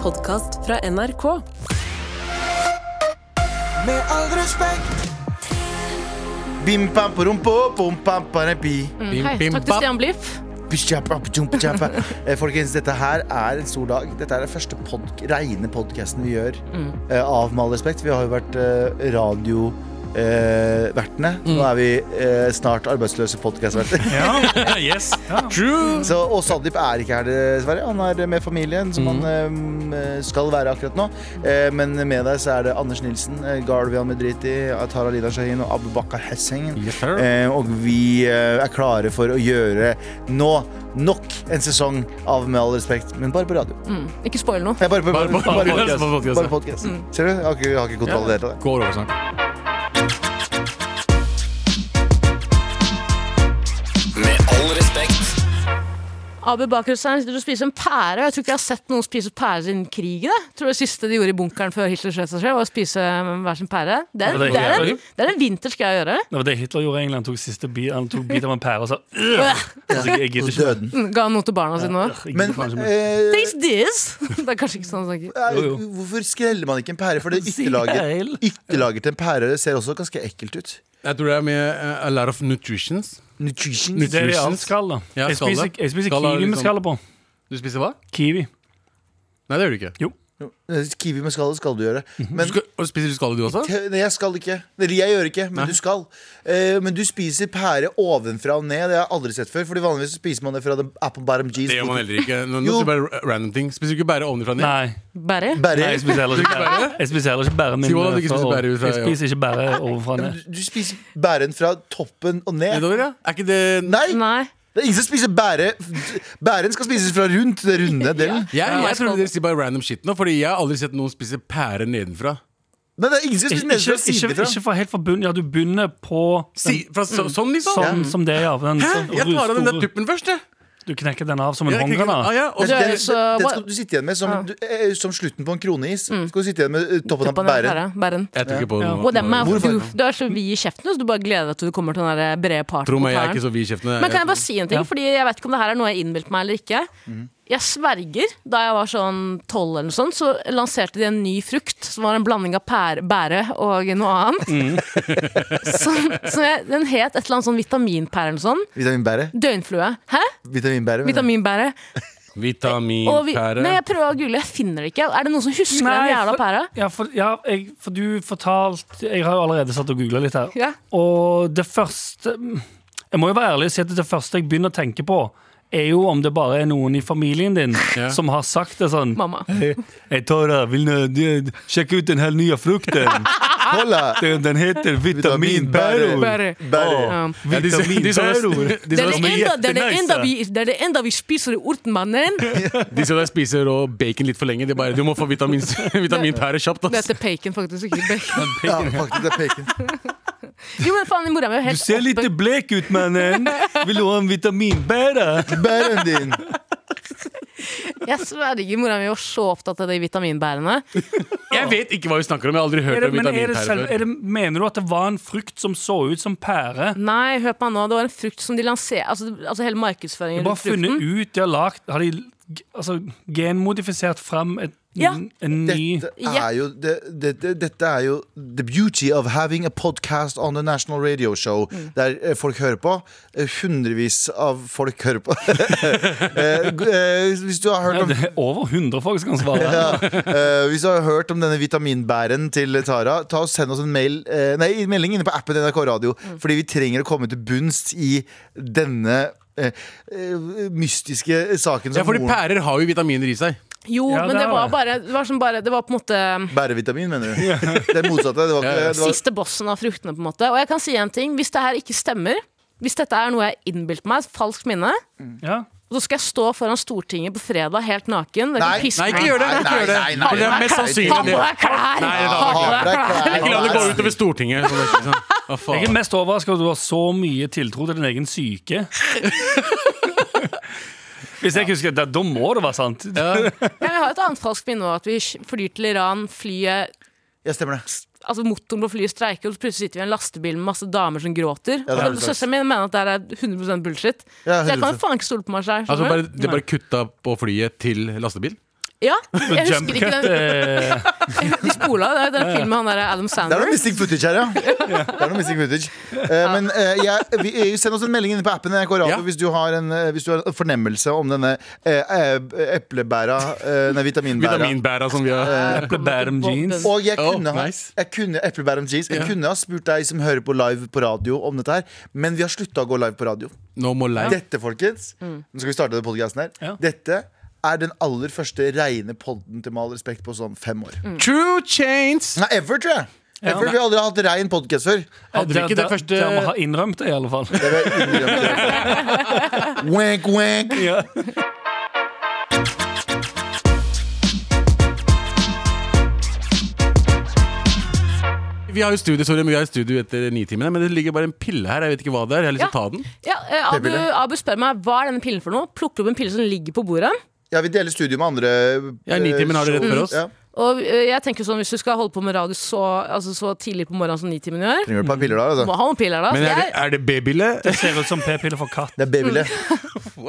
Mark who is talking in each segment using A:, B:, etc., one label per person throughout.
A: podkast fra NRK.
B: Med all respekt Bim pam parum po, pom pam parapi.
C: Bim,
D: Hei,
C: bim,
D: takk til
C: bap.
D: Stian Bliff.
B: Pishjapa, pjump, pjapa. Eh, Folkens, dette her er en stor dag. Dette er den første pod reine podkasten vi gjør
C: Mm.
B: eh, av Med all respekt. Vi har jo vært eh, radio... eh, vertene. Nå
C: Mm.
B: er vi eh, snart arbeidsløse podkastverter.
E: Ja, yes. Ja.
C: True.
B: Så, og Sandeep er ikke her, dessverre. Han er med familien, som han eh, skal være akkurat nå. Eh, Men med deg så er det Anders Nilsen, eh, Garvian Medriti, Atara Lina eh, Shahin og Abu Bakar Hesseng.
C: Yes, sir.
B: Eh, Og vi eh, er klare for å gjøre nå nok en sesong av Med all respekt, men bare på radio.
D: Mm. Ikke spoil noe.
B: Nei, bare på,
C: Bare på-
B: podcast.
C: bare på podcast.
B: Bare podcast. Ser du? Jeg har ikke, jeg har ikke kontroll i det hele tatt.
C: Går over snart.
D: Abu Bakr Hussein sitter og spiser en pære. og Jeg tror ikke jeg har sett noen spise pære siden krigen. Jeg tror det siste de gjorde i bunkeren før Hitler skjøt seg selv, var å spise um, hver sin pære. Det er,
E: Ja, det er
D: det er,
E: jævlig.
D: en, det er en vintersk greie å gjøre.
E: Det var det Hitler gjorde i England. Tok siste bit, han tok bit av en pære og sa «Ugh!» altså, jeg, jeg gidder
B: Så
E: ikke.
B: døde den.
C: Mm.
D: Ga han noe til barna sine òg.
E: Jeg
B: Men
E: gidder faen ikke mer.
B: eh,
D: Taste this! Det er kanskje ikke sånn han snakker.
B: er-
E: Jo, jo.
B: hvorfor skreller man ikke en pære? For det ytterlaget, ytterlaget til en pære ser også ganske ekkelt ut.
C: Jeg tror det er med eh, a lot of nutritions.
B: Nutrition.
E: Det er det alt skall, da.
C: Ja,
E: Jeg
C: skall,
E: spiser,
C: da.
E: jeg spiser
C: Skall er
E: kiwi med
C: liksom-
E: skallet på.
C: Du spiser hva?
E: Kiwi.
C: Nei, det gjør du ikke.
B: eh, Kiwi med skallet skal du gjøre.
E: Mhm.
C: Du
B: Men
C: skal, og spiser du skallet du også?
B: Nei, jeg skal ikke. Eller jeg gjør ikke, men
C: Nei.
B: du skal. Eh, men du spiser pære ovenfra og ned. Det har jeg aldri sett før. Fordi vanligvis så spiser man det fra the apple bottom cheese.
C: Det gjør man heller ikke. Nå, nå
B: Jo.
C: sier jeg bare ra- random ting. Spiser du ikke bære ovenfra og ned?
E: Nei.
D: Bære?
B: Bære.
E: Nei, jeg spiser heller ikke bære. Jeg spiser heller ikke bære min
C: Simon hadde ikke
E: fra
C: spist
E: over.
C: bære ut fra-
E: Jeg spiser ikke bære ovenfra og ned.
B: Du, du spiser bæren fra toppen og ned.
C: Nedover, ja. Er ikke det
B: Nei!
D: Nei.
B: Det er ingen som spiser bære. Bæren skal spises fra rundt den runde delen.
C: Jeg,
D: Ja,
C: jeg tror
D: skal-
C: dere sier bare random shit nå, Fordi jeg har aldri sett noen spise pære nedenfra.
B: Nei, det er ingen som spiser
E: Ikke,
B: nedenfra
E: ikke,
B: og
E: ikke,
B: sidefra.
E: ikke fra helt fra bunnen. Ja, du begynner på
C: Si, fra, så, sånn, liksom?
E: sånn som det, ja. Den,
C: Hæ?
E: sånn,
C: Jeg tar av den der
E: store-
C: tuppen først, jeg.
E: Du knekker den av som en
C: Ja, jeg kan ikke- Ah,
E: håndgranat.
C: ja, og
B: Den,
C: så-
D: Det er
B: den, den
D: så-
B: skal du sitte igjen med som, du, eh, som slutten på en kroneis. Skal du sitte igjen med eh, toppen av
D: På den
B: bæren.
D: pære. Bæren.
C: Jeg tror ikke på
E: Ja.
C: noe.
D: Whatever.
B: Hvorfor?
D: Du, du er så vid i kjeften, så du bare gleder deg til du kommer til den der brede parten.
C: Tro
D: på
C: meg, jeg er
D: pæren.
C: ikke så vid i kjeften.
D: Men kan jeg
C: Jeg-
D: bare si en ting?
E: Ja.
D: Fordi jeg vet ikke om det her er noe jeg innbilte meg eller ikke. Jeg sverger, da jeg var sånn tolv eller noe sånt, så lanserte de en ny frukt som var en blanding av pære, bære og noe annet. så, så jeg, den het et eller annet sånn vitaminpære eller noe sånt.
B: Vitaminbære.
D: Døgnflue. Hæ?
B: Vitaminbære. mener jeg.
D: Vitaminbære. Og vi,
C: Vitaminpære.
D: nei, jeg prøver å google, jeg finner det ikke. Er det noen som husker
E: Nei,
D: den jævla
E: for-
D: pæra?
E: Ja, for, ja jeg, for du fortalte Jeg har jo allerede satt og googla litt her.
D: Ja.
E: Og det første Jeg må jo være ærlig og si at det første jeg begynner å tenke på, er jo om det bare er noen i familien din
C: Ja.
E: som har sagt det sånn.
D: Mamma.
E: Hei, hei Tara, vil du- du sjekke ut den her nye frukten?
B: Cola.
E: Den, den heter vitamin Bæro.
D: Bære.
B: Bære.
D: Ja.
C: Ja, de-
E: Vitamin
C: de som-
E: Bæro.
C: de
D: Det
C: som-
D: er det enda, det er det
E: Nice,
D: enda,
E: da.
D: vi, det er det enda vi spiser i orten, mannen.
C: De som der spiser rå bacon litt for lenge, de bare Du må få vitamin, vitaminpære kjapt,
D: Det
C: ass.
D: heter bacon, faktisk. Ikke bacon.
B: Ja, faktisk, det er peken.
D: Jo, men faen, mora mi er jo
E: Du
D: helt
E: ser litt blek ut, mannen. Vil du ha en vitamin Bæra?
B: Bæren din.
D: Jeg sverger, mora mi var så opptatt av de vitaminbærene.
C: Jeg vet ikke hva vi snakker om, jeg har aldri hørt
E: Er det,
C: om
E: men er det selv,
C: vitaminpære
E: er
C: før.
E: det, mener du at det var en frukt som så ut som pære?
D: Nei, hør på meg nå, det var en frukt som de lanserer Altså, altså hele markedsføringen
E: De har bare
D: rundt
E: funnet
D: frukten.
E: ut de har lagt, Har de g- altså, genmodifisert fram et,
D: Ja.
E: n- en ny
B: Dette er jo det, det, det, Dette er jo the beauty of having a podcast on the national radio show, der eh, folk hører på. Eh, Hundrevis av folk hører på. Eh, g- eh, hvis du har hørt
E: ja,
B: om
E: det er Over 100 folk som kan svare.
B: ja, eh, hvis du har hørt om denne vitaminbæren til Tara, ta og send oss en mail eh, Nei, en melding inne på appen NRK Radio. Fordi vi trenger å komme til bunns i denne eh, eh, mystiske saken
C: Ja,
B: som
C: fordi
B: moren-
C: pærer har jo vitaminer i seg.
D: Jo,
E: Ja,
D: men
E: det
D: det
E: er
D: var
E: det.
D: bare Det var, som bare, det var på en måte
B: Bærevitamin, mener du? Det motsatte. Det var ikke, det var,
D: siste bossen av fruktene, på en måte. Og jeg kan si en ting. Hvis det her ikke stemmer, hvis dette er noe jeg innbilte meg, et falskt minne,
E: Ja.
D: så skal jeg stå foran Stortinget på fredag helt naken. Dere
B: Nei,
D: kan pisse
C: Nei, ikke
D: meg.
C: gjør det!
B: Nei,
C: Ikke gjør det.
B: nei, nei,
C: For det
B: nei,
C: er mest
B: nei.
C: sannsynlig
D: Ha
C: det.
D: på deg klær!
C: Nei, det er
D: Ha på
B: Ah, det
D: deg
B: er
D: klær!
B: klær.
C: Ikke la det gå utover Stortinget. så det er ikke sånn. Hva
E: Jeg er
C: faen?
E: mest overraska over at du har så mye tiltro til din egen syke. Hvis jeg ikke husker det, da må det være sant.
D: Men vi har et annet falskt minne òg, at vi flyr til Iran, flyet
B: Ja, stemmer det.
D: altså motoren på flyet streiker, og så plutselig sitter vi i en lastebil med masse damer som gråter.
B: det er
D: og
B: det
D: Søsteren min mener at det her er 100 bullshit.
B: Ja,
D: Så jeg kan
B: 100%.
D: faen ikke stole på meg sjøl.
C: Altså, bare, det er bare kutta på flyet til lastebil?
D: Ja, jeg
E: Jump
D: husker ikke
E: cut
D: den.
E: eh,
D: De spola det er den filmen med han der Adam
B: Det er
D: Sandler.
B: noe missing footage her, ja. Det er noe missing footage Eh, Men eh, jeg, vi, eh, Send oss en melding inne på appen NRK Radio
C: Ja.
B: hvis, du har en, eh, hvis du har en fornemmelse om denne eh, eh, eplebæra eh, Nei, vitaminbæra.
C: Vitaminbæra som vi har.
E: Apple bottom jeans.
B: Og jeg
C: Oh,
B: kunne, ha-
C: nice.
B: jeg kunne eplebæra med jeans. Jeg
C: Ja.
B: kunne ha spurt deg som hører på live på radio om dette her, men vi har slutta å gå live på radio.
C: No more life.
B: Dette, folkens, nå skal vi starte den podcasten her.
E: Ja.
B: Dette er den aller første reine podden til Med all respekt på sånn fem år.
C: True chains!
B: Nei, ever, tror jeg.
E: Ja.
B: Ever, Vi har aldri hatt rein podkast før.
C: Hadde vi
E: Der-
C: ikke det
E: der-
C: første-
E: Der vi har innrømt det, i alle fall.
B: Det var innrømt. Wank, wank.
E: Ja.
C: Vi har jo studio, sorry, men vi har jo studio etter nitimene, men det ligger bare en pille her. Jeg vet ikke hva det er. Jeg har lyst til å ta den.
D: Ja, eh, Abu,
B: P-pille.
D: Abu spør meg hva er denne pillen for noe. Plukker opp en pille som ligger på bordet.
B: Ja, vi deler studio med andre. eh,
C: Ja, Nitimen har det rett
B: show.
C: for oss.
B: Ja.
D: Og eh, jeg tenker sånn, Hvis du skal holde på med radio så, altså, så tidlig på morgenen som Nitimen gjør,
B: Trenger du et par piller der,
D: må
B: altså.
D: ha noen piller da.
C: Men
D: Så
C: er det,
D: jeg,
C: er det babyle?
E: Det ser ut som p-piller for katt.
B: Det er babyle.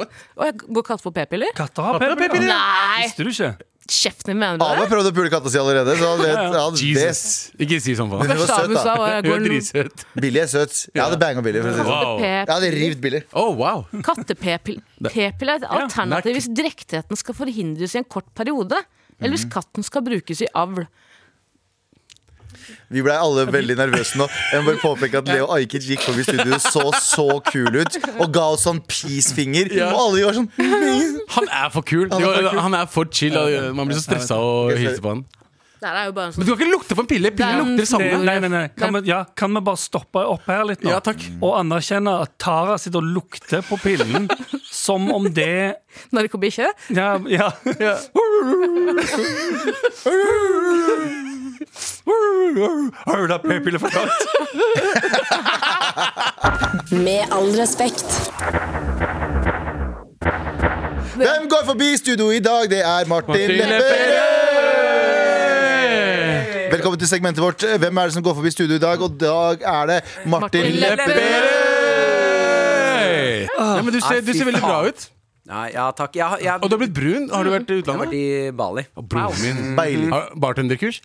D: og jeg går katt for p-piller?
E: Katter har
C: Katter har
E: p-piller. ja.
D: Nei!
E: Visste du ikke?
D: Kjeften din mener
B: Ave
D: du det?
B: prøvde å pule katta si allerede, så han vet han
C: Jesus.
B: vet.
C: Ikke si sånn, faen.
B: Hun var
D: Første
B: søt,
D: Abu sa
B: da.
D: var jeg
C: Hun
D: går
C: er
D: noen
C: dritsøt.
B: Billy er søt. Jeg hadde banga Billy. For å si det sånn.
C: Wow.
B: Jeg hadde
D: p-piller.
B: rivd Billy.
C: Oh, wow.
D: Katte-p-piller P-piller er et
C: nært.
D: alternativ hvis drektigheten skal forhindres i en kort periode. Eller hvis katten skal brukes i avl.
B: Vi ble alle veldig nervøse nå. Jeg må bare påpeke at Leo Ajkic gikk forbi studio så så kul ut og ga oss sånn peace-finger.
C: Ja.
B: Og alle vi var sånn
C: Han er for kul.
B: Han er for kul.
C: Han er for chill. og Man blir så stressa av å hilse på han.
D: Det her er jo bare en
C: Men
D: sånn
C: du kan ikke lukte på en pille.
D: Det er
C: Pille
D: en
C: lukter
E: Nei,
C: sammen.
E: nei, nei, nei. Kan, vi, ja, kan vi bare stoppe opp her litt nå?
C: Ja, takk.
E: Og anerkjenne at Tara sitter og lukter på pillen som om det
D: sånn- narkobikkje.
E: Ja, ja. ja. Har du da p-piller for katt?
A: Med all respekt.
B: Hvem går forbi studio i dag? Det er Martin
C: Martin
B: Lepperød! Velkommen til segmentet vårt. Hvem er det som går forbi studio i dag? Og i dag er det Martin,
D: Martin
B: Lepperød.
C: Lepperød! Ja, men du ser, du
F: Nei,
C: ser
F: fy
C: veldig bra
F: faen.
C: ut.
F: Nei, ja takk. Jeg, har- jeg,
C: Og du har blitt brun. Har du vært i
F: jeg har vært
C: utlandet?
F: i Bali.
C: Å, Broren min.
B: Beilig.
C: Har- Bartenderkurs?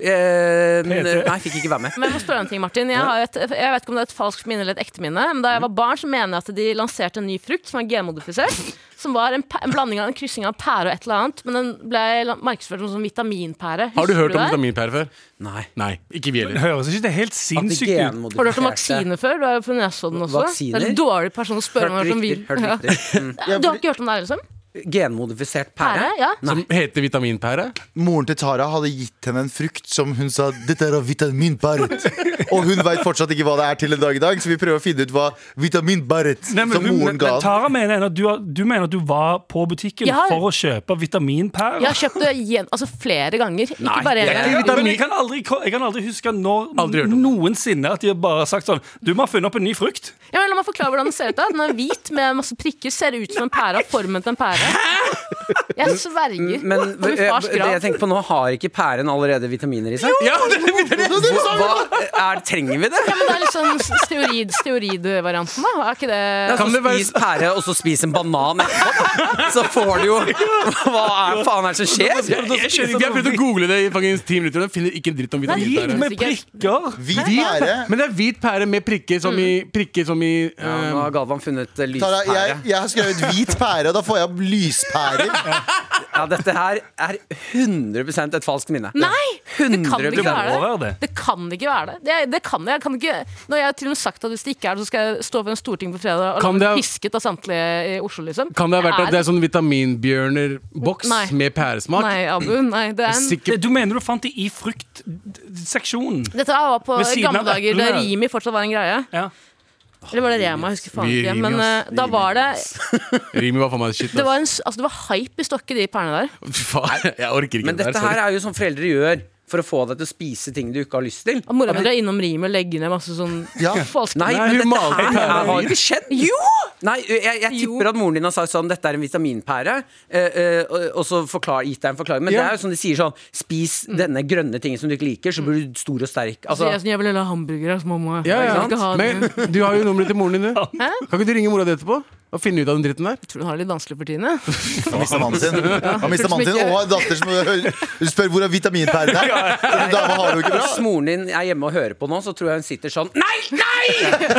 F: Eh, nei, fikk ikke være med.
D: Men jeg må spørre en ting, Martin. Jeg, har jo et, jeg vet ikke om det er et falskt minne eller et ekte minne, men da jeg var barn, så mener jeg at de lanserte en ny frukt som var genmodifisert. Som var en, pæ- en blanding av en kryssing av en pære og et eller annet. Men den ble la- markedsført som sånn vitaminpære.
C: Har du hørt om
D: det?
C: vitaminpære før?
F: Nei.
C: Nei, ikke vi heller.
E: Høres ikke det helt
F: At det
E: sinnssykt ut?
F: genmodifiserte-
D: Har du hørt om vaksiner før? Du er jo fra Nesodden også.
F: Vaksiner?
D: Det er en dårlig person å spørre om.
F: Hørte
D: hva som
F: riktig.
D: vil-
F: Hørte
D: Ja.
F: riktig. Mm.
D: Du har ikke hørt om det her, liksom?
F: Genmodifisert pære?
D: Pære? Ja.
C: Som heter vitaminpære?
B: Moren til Tara hadde gitt henne en frukt som hun sa Dette er av vitaminbarret. Og hun veit fortsatt ikke hva det er til en dag i dag, så vi prøver å finne ut hva vitaminbarret
E: Nei,
B: som
E: men, hun- men,
B: moren ga
E: men
B: han.
E: Tara mener ennå at du, har- du mener at du var på butikken
D: Jeg har-
E: for å kjøpe
D: Jeg
E: vitaminpærer.
D: har kjøpt det igjen, altså flere ganger. Ikke bare én
E: Jeg,
D: gang.
E: jeg, men jeg, kan aldri, jeg kan aldri huske når
C: Aldri hørt om det.
E: noensinne at de har bare sagt sånn Du må ha funnet opp en ny frukt.
D: Ja, men la meg forklare hvordan den ser ut. da Den er hvit med masse prikker, ser ut som en pære, har formen til en pære. Jeg sverger.
F: Men
D: Som i
F: eh,
D: fars
F: det jeg
D: grav.
F: tenker på nå, har ikke pæren allerede vitaminer i seg?
C: Ja, det er vitamin.
F: Hva, er, trenger vi det?
D: Men det er liksom steroid, steroidvarianten, da. Er ikke det
F: Ja,
C: Kan
F: så
C: det være-
F: spis pære, og så spis en banan etterpå. Så får du jo Hva er faen er det som skjer?
C: Jeg skjønner ikke, jeg har prøvd å google det i faktisk ti minutter, og jeg finner ikke en dritt om
D: Nei,
E: Gi
C: vitaminpære.
D: men-
E: meg prikker.
B: Hvit pære.
C: Men det er hvit pære med prikker som i
D: Mm.
C: Prikker som i ehm,
F: Ja, nå har Galvan funnet
B: Tara,
F: eh,
B: jeg,
F: lyspære.
B: jeg har skrevet hvit pære, og da får jeg opp lyspærer.
F: Ja, dette her er 100 et falskt minne.
D: Nei! Det kan det
F: 100%.
D: ikke
E: Det må
D: være
E: være
D: det.
E: det.
D: Det kan det ikke være det. Det, det kan jeg. jeg kan ikke, når jeg har til og med sagt at hvis det ikke er det, så skal jeg stå foran Stortinget på fredag og
C: Kan
D: bli
C: det ha-
D: pisket av samtlige i Oslo, liksom.
C: Kan det ha vært at det
D: Det
C: er sånn vitaminbjørner-boks
D: Nei.
C: med pæresmak?
D: Nei, Abu. Nei, det er en
C: Sikkert
E: Du mener du fant det i fruktseksjonen?
D: dette her var på
E: Ved siden
D: gamle
E: av
D: dager, da
E: eplene.
D: Rimi fortsatt var en greie.
E: Ja.
D: Eller var det Rema? Jeg husker faen
C: Vi
D: ikke.
C: Rimi,
D: Men
C: ass.
D: eh, da var det
C: Rimi var for meg shit.
D: Det
C: ass.
D: var, en, s- altså, det var hype i stokket, de pærene der.
C: Fy Faen, jeg orker ikke
F: Men
C: det der.
F: dette her
C: Sorry.
F: er jo sånn foreldre gjør for å få deg til å spise ting du ikke har lyst til.
D: Og Mora mi drar innom Rimi og legger ned masse sånn
B: Ja.
D: falske
F: Nei,
C: Nei,
F: men
C: hun
F: dette
C: malte
F: her,
C: pærer.
F: har ikke skjedd. Jo! Nei, jeg, jeg
D: Jo.
F: tipper at moren din har sagt sånn Dette er en vitaminpære. eh, eh, og- og så forklar, gitt deg en forklaring. Men det
C: Ja.
F: er jo sånn de sier sånn Spis denne grønne tingen som du ikke liker, så blir du stor og sterk.
D: Mm. Så jeg, er
F: Altså,
D: sånn, jeg vil heller ha hamburgere, så mamma.
C: Ja,
D: Jeg
C: ja.
D: skal ikke ha den.
C: Men du har jo nummeret til moren din. du. Kan ikke du ringe mora di etterpå? Å finne ut av den dritten der.
D: Jeg tror hun har det litt vanskelig for tiden. jeg.
B: Han mista mannen sin. Han mistet mannen sin
D: Ikke-
B: Og en datter som hun spør hvor er vitaminpæren er. Den dama har det jo ikke
F: Hvis
B: bra.
F: moren din er hjemme og hører på nå, så tror jeg hun sitter sånn Nei, nei!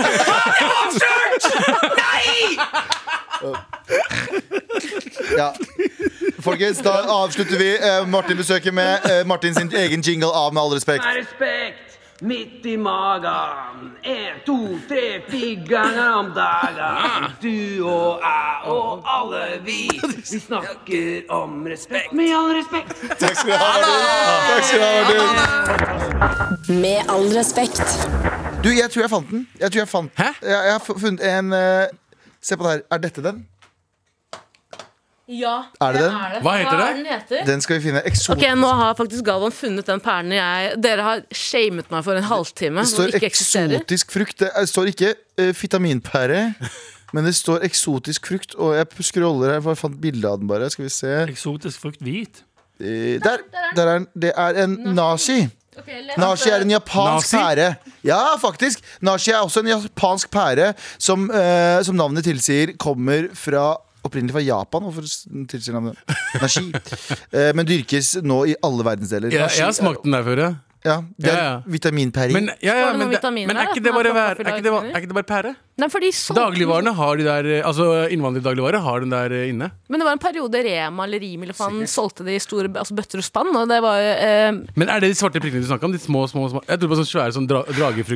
B: Ja. Folkens, da avslutter vi eh, Martin besøket med eh, Martin sin egen jingle av Med all respekt.
G: Med respekt! Midt i magen. En, to, tre, fire ganger om dagen. Du og jeg og alle vi. Vi snakker om respekt. Med all respekt.
B: Takk skal du ha, Martin. Takk skal du ha, Martin.
A: Med all respekt.
B: Du, jeg tror jeg fant den. Jeg tror jeg fant
C: Hæ?
B: Jeg, jeg har fu- funnet en eh, Se på det her. Er dette den?
D: Ja,
B: Er det den?
C: Hva heter det?
D: er den heter?
B: Den skal vi finne. Eksot.
D: Ok, Nå har faktisk Galvan funnet den perlen jeg Dere har shamet meg for en halvtime.
B: Det
D: Som
B: står
D: ikke eksisterer
B: eksotisk frukt. Det er- står ikke eh, vitaminpære, men det står eksotisk frukt. Og jeg p- scroller her, for jeg fant bilde av den bare. Skal vi se.
E: Eksotisk frukt hvit.
B: Eh, Der! der er den. Det er en nashi. Nashi er en japansk
C: Nazi?
B: pære. Ja, faktisk. Nashi er også en japansk pære som, eh, som navnet tilsier kommer fra Opprinnelig fra Japan, hvorfor s- tilsier navnet nashi? Eh, men dyrkes nå i alle verdensdeler.
C: Jeg,
B: Nashi
C: jeg har
B: er-
C: smakt den der før, ja.
B: Ja, det er
C: Ja, ja.
B: vitaminpæring.
C: Men, ja, ja,
D: Står det
C: men,
D: noen
C: det,
D: vitaminer
C: men
D: der,
C: er, ikke
D: at
C: det
D: den er
C: bare,
D: fra
C: vær- er, ikke det, ba-
D: Kaffedag?
C: er ikke det bare pære?
D: Nei, for de solgte den.
C: Dagligvarene har de der eh, Altså innvandrerdagligvarer har den der eh, inne.
D: Men det var en periode Rema eller Rimi eller faen solgte de i store altså bøtter og spann. Og det var jo eh,
C: Men er det de svarte prikkene du snakka om? De små, små, små Jeg tror det var sånne svære sånn dra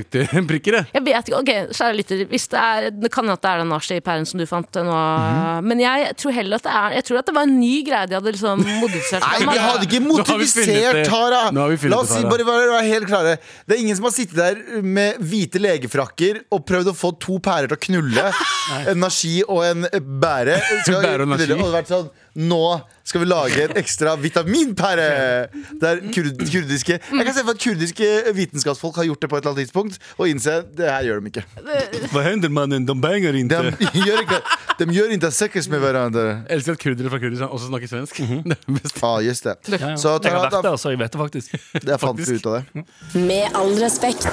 C: dragefruktprikker. jeg.
D: Jeg vet ikke, ok, kjære lytter Hvis det er, det kan hende at det er den nazi-pæren som du fant eh, nå
C: Mhm.
D: Men jeg tror heller at det er Jeg tror at det var en ny greie de hadde liksom modifisert
B: Nei, vi hadde ikke
C: Nå har vi funnet
B: motivisert
C: det.
B: Tara!
C: Nå har vi funnet
B: La oss
C: det,
B: si,
C: Tara.
B: bare være være helt klare. Det er ingen som har sittet der med hvite legefrakker og prøvd å få to pærer til å knulle. En nashi og en bære. Skal-
C: Bære og nashi.
B: Det hadde vært sånn Nå skal vi lage en ekstra vitaminpære! Det er kurd, kurdiske Jeg kan se for at kurdiske vitenskapsfolk har gjort det på et eller annet tidspunkt og innse det her gjør de ikke.
E: Hva hender, mannen? De banger
B: De gjør ikke, de gjør ikke sekkes med hverandre.
C: Jeg Elsker at kurdere fra Kurdistan også snakker svensk. Det er best.
B: Ah, just det.
E: Ja, ja.
B: Så
E: jeg har
B: Tara,
E: vært
B: da,
C: altså,
E: der, så jeg vet det faktisk.
B: jeg fant vi ut av det.
A: Med all respekt.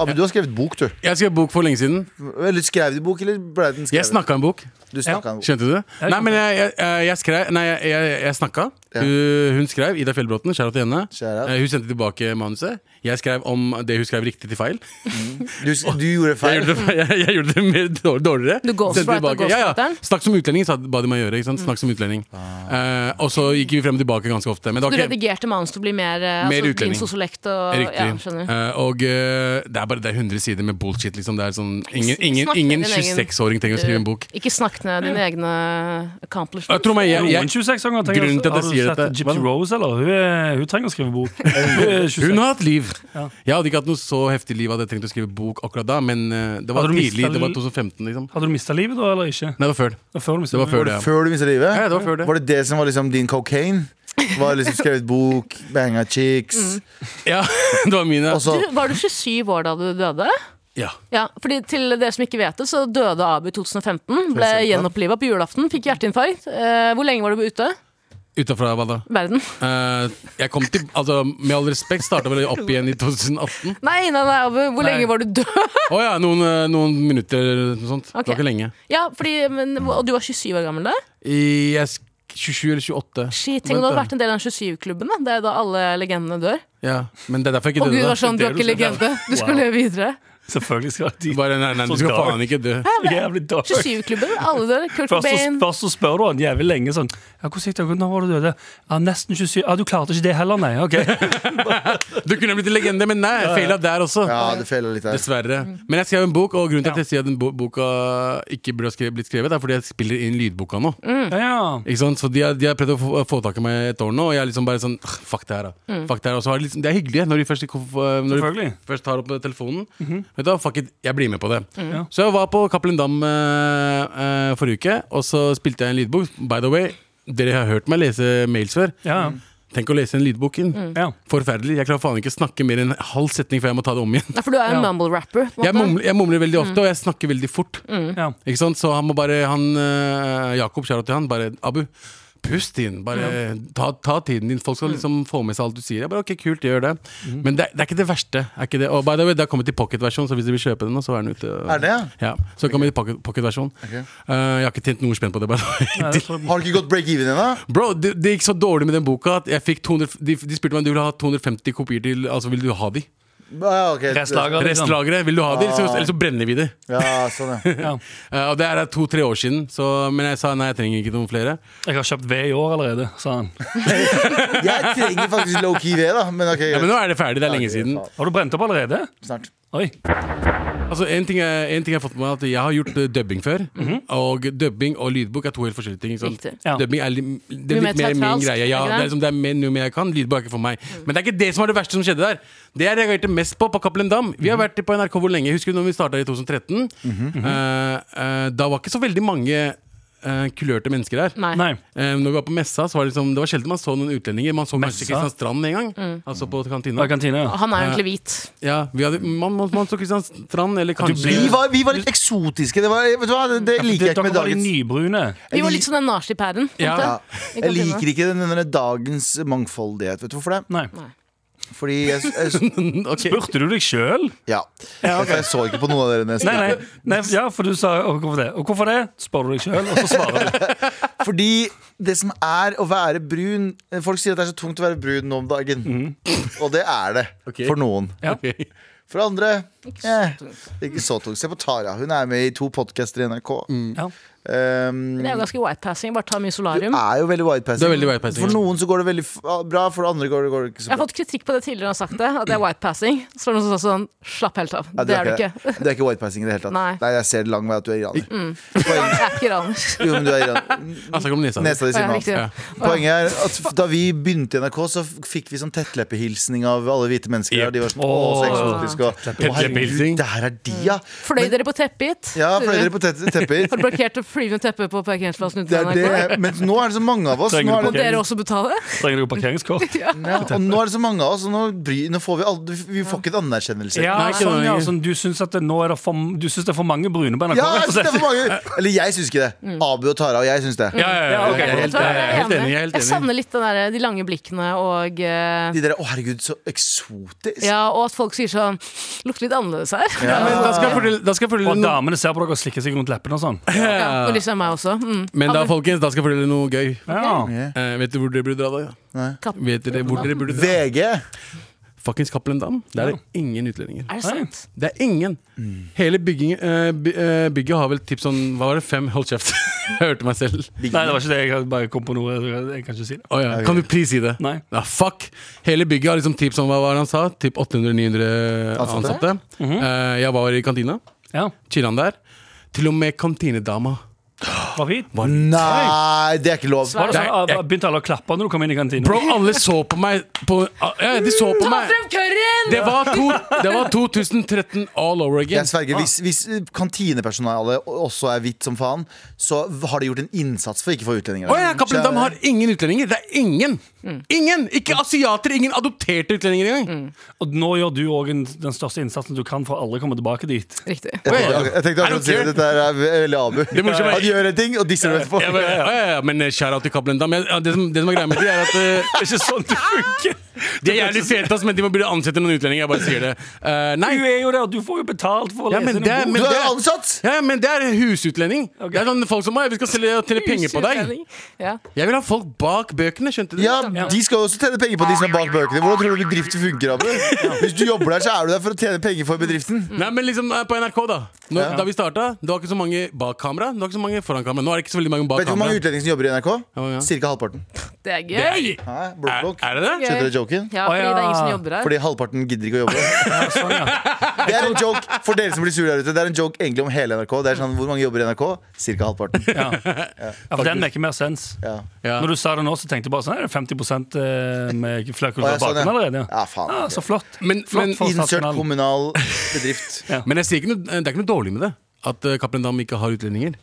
B: Abu, du har skrevet bok, du.
C: Jeg skrev bok for lenge siden.
B: Eller skrev du bok, eller ble den skrevet?
C: Jeg snakka en bok.
B: Du snakka en bok.
C: Skjønte du det? Nei, men jeg, jeg, jeg skrev Nei, jeg, jeg, jeg snakka.
B: Ja.
C: Hun, hun skrev Ida Fjellbråten. Kjære til henne.
B: Shout out.
C: Eh, Hun sendte tilbake manuset. Jeg skrev om det hun skrev riktig til feil.
B: Du, du gjorde
C: Jeg
B: feil.
C: gjorde det, jeg, jeg gjorde det mer dår- dårligere.
D: Du ghostwriter
C: Sendte tilbake. ja, ja.
D: ghostwriteren?
C: Snakk som utlending, sa, ba de meg gjøre. Ikke sant? Snakk som utlending Eh, Og så gikk vi frem og tilbake ganske ofte. Men det
D: Du
C: var ikke
D: redigerte manus til å bli mer, eh,
C: Mer
D: altså,
C: utlending.
D: Din sosiolekt og
C: Riktig.
D: Ja, skjønner
C: Eh, og eh, det er bare det er 100 sider med bullshit. Liksom. Det er sånn, ingen ingen,
D: Snakk med
C: ingen
D: din egen-
C: 26-åring trenger å skrive en bok.
D: Ikke snakk ned dine egne accomplishments
C: Jeg tror meg, jeg,
E: Noen
C: jeg,
E: 26-åringer tenker
C: Grunnen til at jeg
E: Har du
C: sier
E: sett
C: dette-
E: Gypsy
C: Hva da?
E: Rose, eller? Hun, er, hun trenger å skrive bok. Hun er 26.
C: Hun har hatt liv.
E: Ja.
C: Jeg hadde ikke hatt noe så heftig liv at jeg trengte å skrive bok akkurat da, men eh, det var
E: Hadde du
C: tidlig.
E: mistet-
C: Det var 2015, liksom. Nei,
E: Hadde du mista livet da, eller ikke?
C: det var før det.
E: Det var før du mistet
C: Det var
E: livet.
C: før det. ja.
B: Før du mista
C: Ja,
B: livet?
C: det var før det.
B: Var det det som var liksom din cocaine? Var liksom Skrevet bok, banga chicks
C: Mm. Ja, det var mine.
B: Og så
D: Du, var du 27 år da du døde?
C: Ja.
D: Ja, fordi til dere som ikke vet det, så døde Abu i 2015. Ble
B: Present, ja.
D: gjenoppliva på julaften, fikk hjerteinfarkt. Eh, hvor lenge var du ute?
C: Utenfra hva da?
D: Verden.
C: Eh, jeg kom til Altså, med all respekt, starta vel opp igjen i 2018.
D: Nei, nei, nei, Abu, hvor
C: Nei.
D: lenge var du død?
C: Å ja, noen, eh, noen minutter eller noe sånt. Det
D: Ok.
C: var ikke lenge.
D: Ja, fordi, men, og du var 27 år gammel da?
C: I, jeg sk- 27 eller 28.
D: Shit, tenk om du hadde vært en del av den 27-klubben. da. Det er da alle legendene dør.
C: Ja, men det er derfor jeg
D: Og
C: ikke
D: Gud
C: døde.
D: var sånn, du er
E: det
D: ikke
E: du sier.
D: legende, du skal
E: Wow.
D: leve videre.
E: Selvfølgelig skal de
C: da. Bare, nei, nei, du skal
E: dark.
C: faen ikke dø.
E: Jævlig dark.
D: 27-klubben, alle dør. Kurt
E: Først så,
D: Cobain.
E: først så spør du han jævlig lenge sånn Ja, hvor sikkert Når var du døde? Ja, nesten 27. Ja, du klarte ikke det heller, nei. Ok.
C: Du kunne blitt en legende, men nei, feila der også.
B: Ja, det feilet litt der.
C: Dessverre. Men jeg skrev en bok, og grunnen til at jeg sier at den bo- boka ikke burde ha skrevet, blitt skrevet, er fordi jeg spiller inn lydboka nå.
E: Ja, ja.
C: Ikke sant? Så de har, de har prøvd å få, få tak i meg et år nå, og jeg er liksom bare sånn "Ugh, Fuck det her, da. Fuck det her. Og så har de liksom, det er hyggelig når de først, eh, når de
E: Mm. Selvfølgelig. Mhm.
C: først tar opp telefonen. Vet du hva, fuck it, jeg blir med på det.
E: Mm. Ja.
C: Så jeg var på Cappelen Dam eh, eh, forrige uke, og så spilte jeg en lydbok. By the way, dere har hørt meg lese mails før.
E: Ja,
C: Tenk å lese en lydbok inn.
E: ja.
C: Forferdelig. Jeg klarer faen ikke snakke mer enn en halv setning før jeg må ta det om igjen.
D: Nei, for du er jo en
E: Ja.
D: mumble rapper. på en
C: Jeg
D: måte. Mm.
C: mumler, jeg mumler veldig ofte, og jeg snakker veldig fort.
E: ja.
C: Ikke sant? Så han må bare han, eh, Jakob, kjære til han, bare Abu, Pust inn. Bare ta, ta tiden din. Folk
D: Mm.
C: skal liksom få med seg alt du sier. Jeg bare, ok, kult, gjør det Men det, det er ikke det verste. Er ikke det. Og by the way, det har kommet i pocketversjon, så hvis dere vil kjøpe den, nå, så er den ute.
B: Er det, ja?
C: Ja, så det kommer i pocket- pocketversjon.
B: Ok.
C: Eh, jeg har ikke tjent noe spenn på det. by the way.
E: Nei, det tror jeg-
B: Har du ikke gått break-even ennå?
C: Bro, det, det gikk så dårlig med den boka at jeg fikk 200, de, de spurte meg om du ville ha 250 kopier til. Altså, vil du ha de?
B: Ja, ok.
E: Restlager, liksom.
C: Restlageret, vil du ha de?
B: Ah.
C: Så, eller så brenner vi de.
B: Ja, sånn, ja.
E: Ja.
C: Eh, og det er to-tre år siden, så, men jeg sa nei, jeg trenger ikke noen flere.
E: Jeg har kjøpt ved i år allerede, sa han.
B: Jeg trenger faktisk low-key ved, da. Men ok,
C: Ja, men
B: greit.
C: nå er det ferdig. Det er lenge siden.
E: Har du brent opp allerede?
B: Snart.
E: Oi.
C: Altså, en ting, jeg, en ting jeg har fått med meg er at Jeg har gjort eh, dubbing før. Og dubbing og lydbok er to helt forskjellige ting. sant?
D: Riktig.
E: Ja.
C: Dubbing er, li- det
D: Mye
C: er
D: mer
C: litt mer min
D: teatralsk, er det
C: greie. Ja, det
D: ikke
C: er,
D: det? Mm.
C: liksom, det er mer, noe mer jeg kan. Lydbok er ikke for meg. Men det er ikke det som var det verste som skjedde der. Det jeg reagerte mest på, på Cappelen Dam Vi har
D: Mhm.
C: vært på NRK hvor lenge? Husker du når vi starta i 2013? Eh, eh, da var ikke så veldig mange eh, kulørte mennesker der.
D: Nei.
E: Nei.
C: Eh, når vi var på messa, så var det, liksom, det var sjelden man så noen utlendinger. Man så kanskje
E: Messa?
C: Kristiansand en gang.
D: Mm.
C: Altså på kantina.
E: Fra kantina, ja.
D: Han er jo egentlig hvit.
C: Ja, vi hadde, man, man, man så Kristiansand, eller kanskje
B: Vi var, vi var litt eksotiske. Det, var, vet du hva? det, det liker jeg
E: Dere
B: ikke med
E: var de
B: dagens
E: nybrune.
D: Vi var litt som den nachspiel-pæren. på en
C: Ja.
B: ja.
D: måte. Vi kan
B: Jeg
D: begynne.
B: liker ikke den, denne dagens mangfoldighet. Vet du hvorfor det?
E: Nei.
B: Fordi jeg, jeg
C: Ok.
E: Spurte du deg sjøl?
B: Ja. For jeg så ikke på noen av dere. nesten.
E: Nei, nei, nei. Ja, for du sa «Å, hvorfor det. Og hvorfor det? Spør du deg sjøl, og så svarer du.
B: Fordi det som er å være brun Folk sier at det er så tungt å være brun nå om dagen. Og det er det.
C: Ok.
B: For noen.
E: Ja.
B: For andre eh, det er ikke så tungt. Se på Tara. Hun er med i to podcaster i NRK.
C: Mm.
E: Ja.
B: Um,
D: Det er jo ganske whitepassing. Bare ta mye
B: du
D: solarium.
B: er jo veldig
C: Du
B: whitepassing.
C: er veldig whitepassing,
B: For
C: ja.
B: noen så går det veldig f- ah, bra, for andre går det, går det ikke
D: Jeg
B: så
D: har
B: bra.
D: fått kritikk på det tidligere, og har sagt det. At det er whitepassing. Så var det noen som sa sånn Slapp helt av.
B: Ja,
D: det er du ikke.
B: Du er ikke whitepassing i det hele tatt.
D: Nei.
B: jeg ser lang vei at du er iraner. Poenget-
D: Jeg er ikke iraner.
B: Jo, men du er iraner.
C: Han snakker om nesa.
B: Nesa di
D: Ja,
B: sier noe
D: riktig.
B: annet.
C: Ja.
B: Poenget er at f- da vi begynte i NRK, så f- fikk vi sånn tettleppehilsning av alle hvite mennesker.
C: Yep.
B: Og de var sånn, Åh, så eksotisk og, Å, herregud,
C: Tettleppehilsning.
B: der er de, ja!
D: Fløy dere på teppet hit?
B: Ja, fløy dere på tett- tepper?
D: Har du blokkert det flyvende teppet på parkeringsplassen
B: Det er
D: utenfor NRK?
B: det. Men nå er det så mange av oss.
E: Trenger
B: Nå
E: du
B: er
D: Må
B: det,
E: parkering?
D: dere også betale?
E: Trenger du parkeringskort?
B: ja, og nå er det så mange av oss, og nå, bry, nå får vi aldri Vi får ikke en anerkjennelse.
E: Ja,
C: Nei, ikke
E: sånn, ja,
C: noe.
E: sånn, du syns at det, nå er det for, du syns det er for mange brune på NRK?
B: Ja,
E: rett
B: jeg synes
E: og
B: det er
E: slett.
B: for mange Eller jeg syns ikke det. Abu og Tara og jeg syns det.
C: Ja, ja, ja,
E: Ja, ok.
C: jeg er helt, jeg er helt enig. Jeg er helt
D: Jeg
C: enig.
D: savner litt den der, de lange blikkene og eh,
B: De der, Å, herregud, så eksotisk.
D: Ja, og at folk sier sånn Lukter litt annerledes her. Ja,
C: Men da skal jeg fortelle, da skal jeg fortelle
E: Og
C: noe
E: damene ser på dere og slikker seg rundt leppene og sånn.
D: og liksom meg også. Mm.
C: Men da, folkens, da skal jeg fortelle noe gøy.
E: Ja.
C: Eh, vet dere hvor dere burde dra, da?
D: Kapp-
C: Vet dere hvor dere burde dra?
B: VG.
C: Fuckings Cappelen Dam. Der er det ingen utlendinger.
D: Er det sant?
C: Det er ingen.
E: Mm.
C: Hele bygging, eh, by, eh, bygget har vel typ sånn Hva var det? Fem? Hold kjeft. jeg hørte meg selv.
E: Nei, det var ikke det. Jeg bare kom på noe. Jeg kan ikke si det.
C: Å ja. Kan du pris i det?
E: Nei.
C: Ja, fuck! Hele bygget har liksom typ, som hva var det han sa, typ 800-900
B: Ansatte?
C: ansatte. Eh, jeg var i kantina.
E: Ja,
C: Chilla'n der. Til og med kantinedama.
E: var fint.
B: Nei, det er ikke lov.
E: Var det
C: Nei,
E: sånn, ah,
C: jeg-
E: Begynte alle å klappe når du kom inn i kantina?
C: Bro, alle så på meg på, ah, ja, De så på meg.
D: curryen!
C: Det var, to, det var 2013 all over again.
B: Jeg sverger, hvis, hvis
C: Ah.
B: kantinepersonalet også er hvitt som faen, så har de gjort en innsats for ikke å få utlendinger.
C: Å ja, Cappelen Dam har ingen utlendinger. Det er ingen! Ingen! Ikke asiater, ingen adopterte utlendinger engang.
E: Og nå gjør du òg den største innsatsen du kan for å alle komme tilbake dit.
D: Riktig.
B: Jeg tenkte, jeg tenkte
C: Er du
B: akkurat å si det.
C: kul?
B: Dette her er veldig Abu.
C: morsomme er-
B: Han gjør en ting, og disser det
C: Ja, men,
B: etterpå.
C: ja, ja, ja, men eh, shout out til Cappelen Dam. Jeg- Ja, det, som- det som er greia med de, er at eh,
E: Det er ikke sånn det funker!
C: de er jævlig fete, ass, men de må burde ansette noen utlendinger. Jeg bare sier det. Eh,
E: Du
C: nei.
E: er jo der, og du får jo betalt for å
C: Ja,
E: lese
C: men det er-
E: en
B: Du
E: bok.
C: men-
B: er jo ansatt!
C: Ja, ja, men det er husutlending. Det er sånn folk som meg. Vi skal selge, tjene penger på deg.
D: Husutlending. Ja.
C: Jeg vil ha folk bak bøkene, skjønte du?
B: Ja, De skal jo også tjene penger på de som er
C: Ah.
B: bak bøkene. Hvordan tror du bedrifter funker, Abu? Hvis du jobber der, så er du der for å tjene penger for bedriften.
C: Nei, men liksom eh, på NRK, da. Når, Da vi starta, det var ikke så mange bak kamera. Det var ikke så mange foran kamera. Nå er det ikke så veldig mange bak
B: Vet du hvor mange
C: kamera.
B: utlendinger som jobber i NRK?
C: Ja, ja.
B: Cirka halvparten.
D: Det er gøy.
B: Nei,
C: Er,
B: blokk, blokk.
C: er det det?
B: Skjønner du joken?
D: Ja, fordi det er ingen som jobber her.
B: Fordi halvparten gidder ikke å jobbe. Det er en joke for dere som blir sure der ute. Det er en joke egentlig om hele NRK. Det er sånn, Hvor mange jobber i NRK? Cirka halvparten.
E: Ja, for den maker mer sens.
B: Ja.
C: Ja.
E: Når du sa det nå, så tenkte jeg bare sånn Er det 50 eh, med
B: Å,
E: fløkultur
B: ja, sånn,
E: bak
B: ja.
E: den allerede?
B: Ja, faen.
E: Ah, så flott.
C: Men-
E: flott
C: men-
E: for
B: Insert
E: statskanalen.
B: kommunal bedrift.
C: Men jeg sier ikke noe, det er ikke noe dårlig med det. At uh, Cappelen Dam ikke har utlendinger.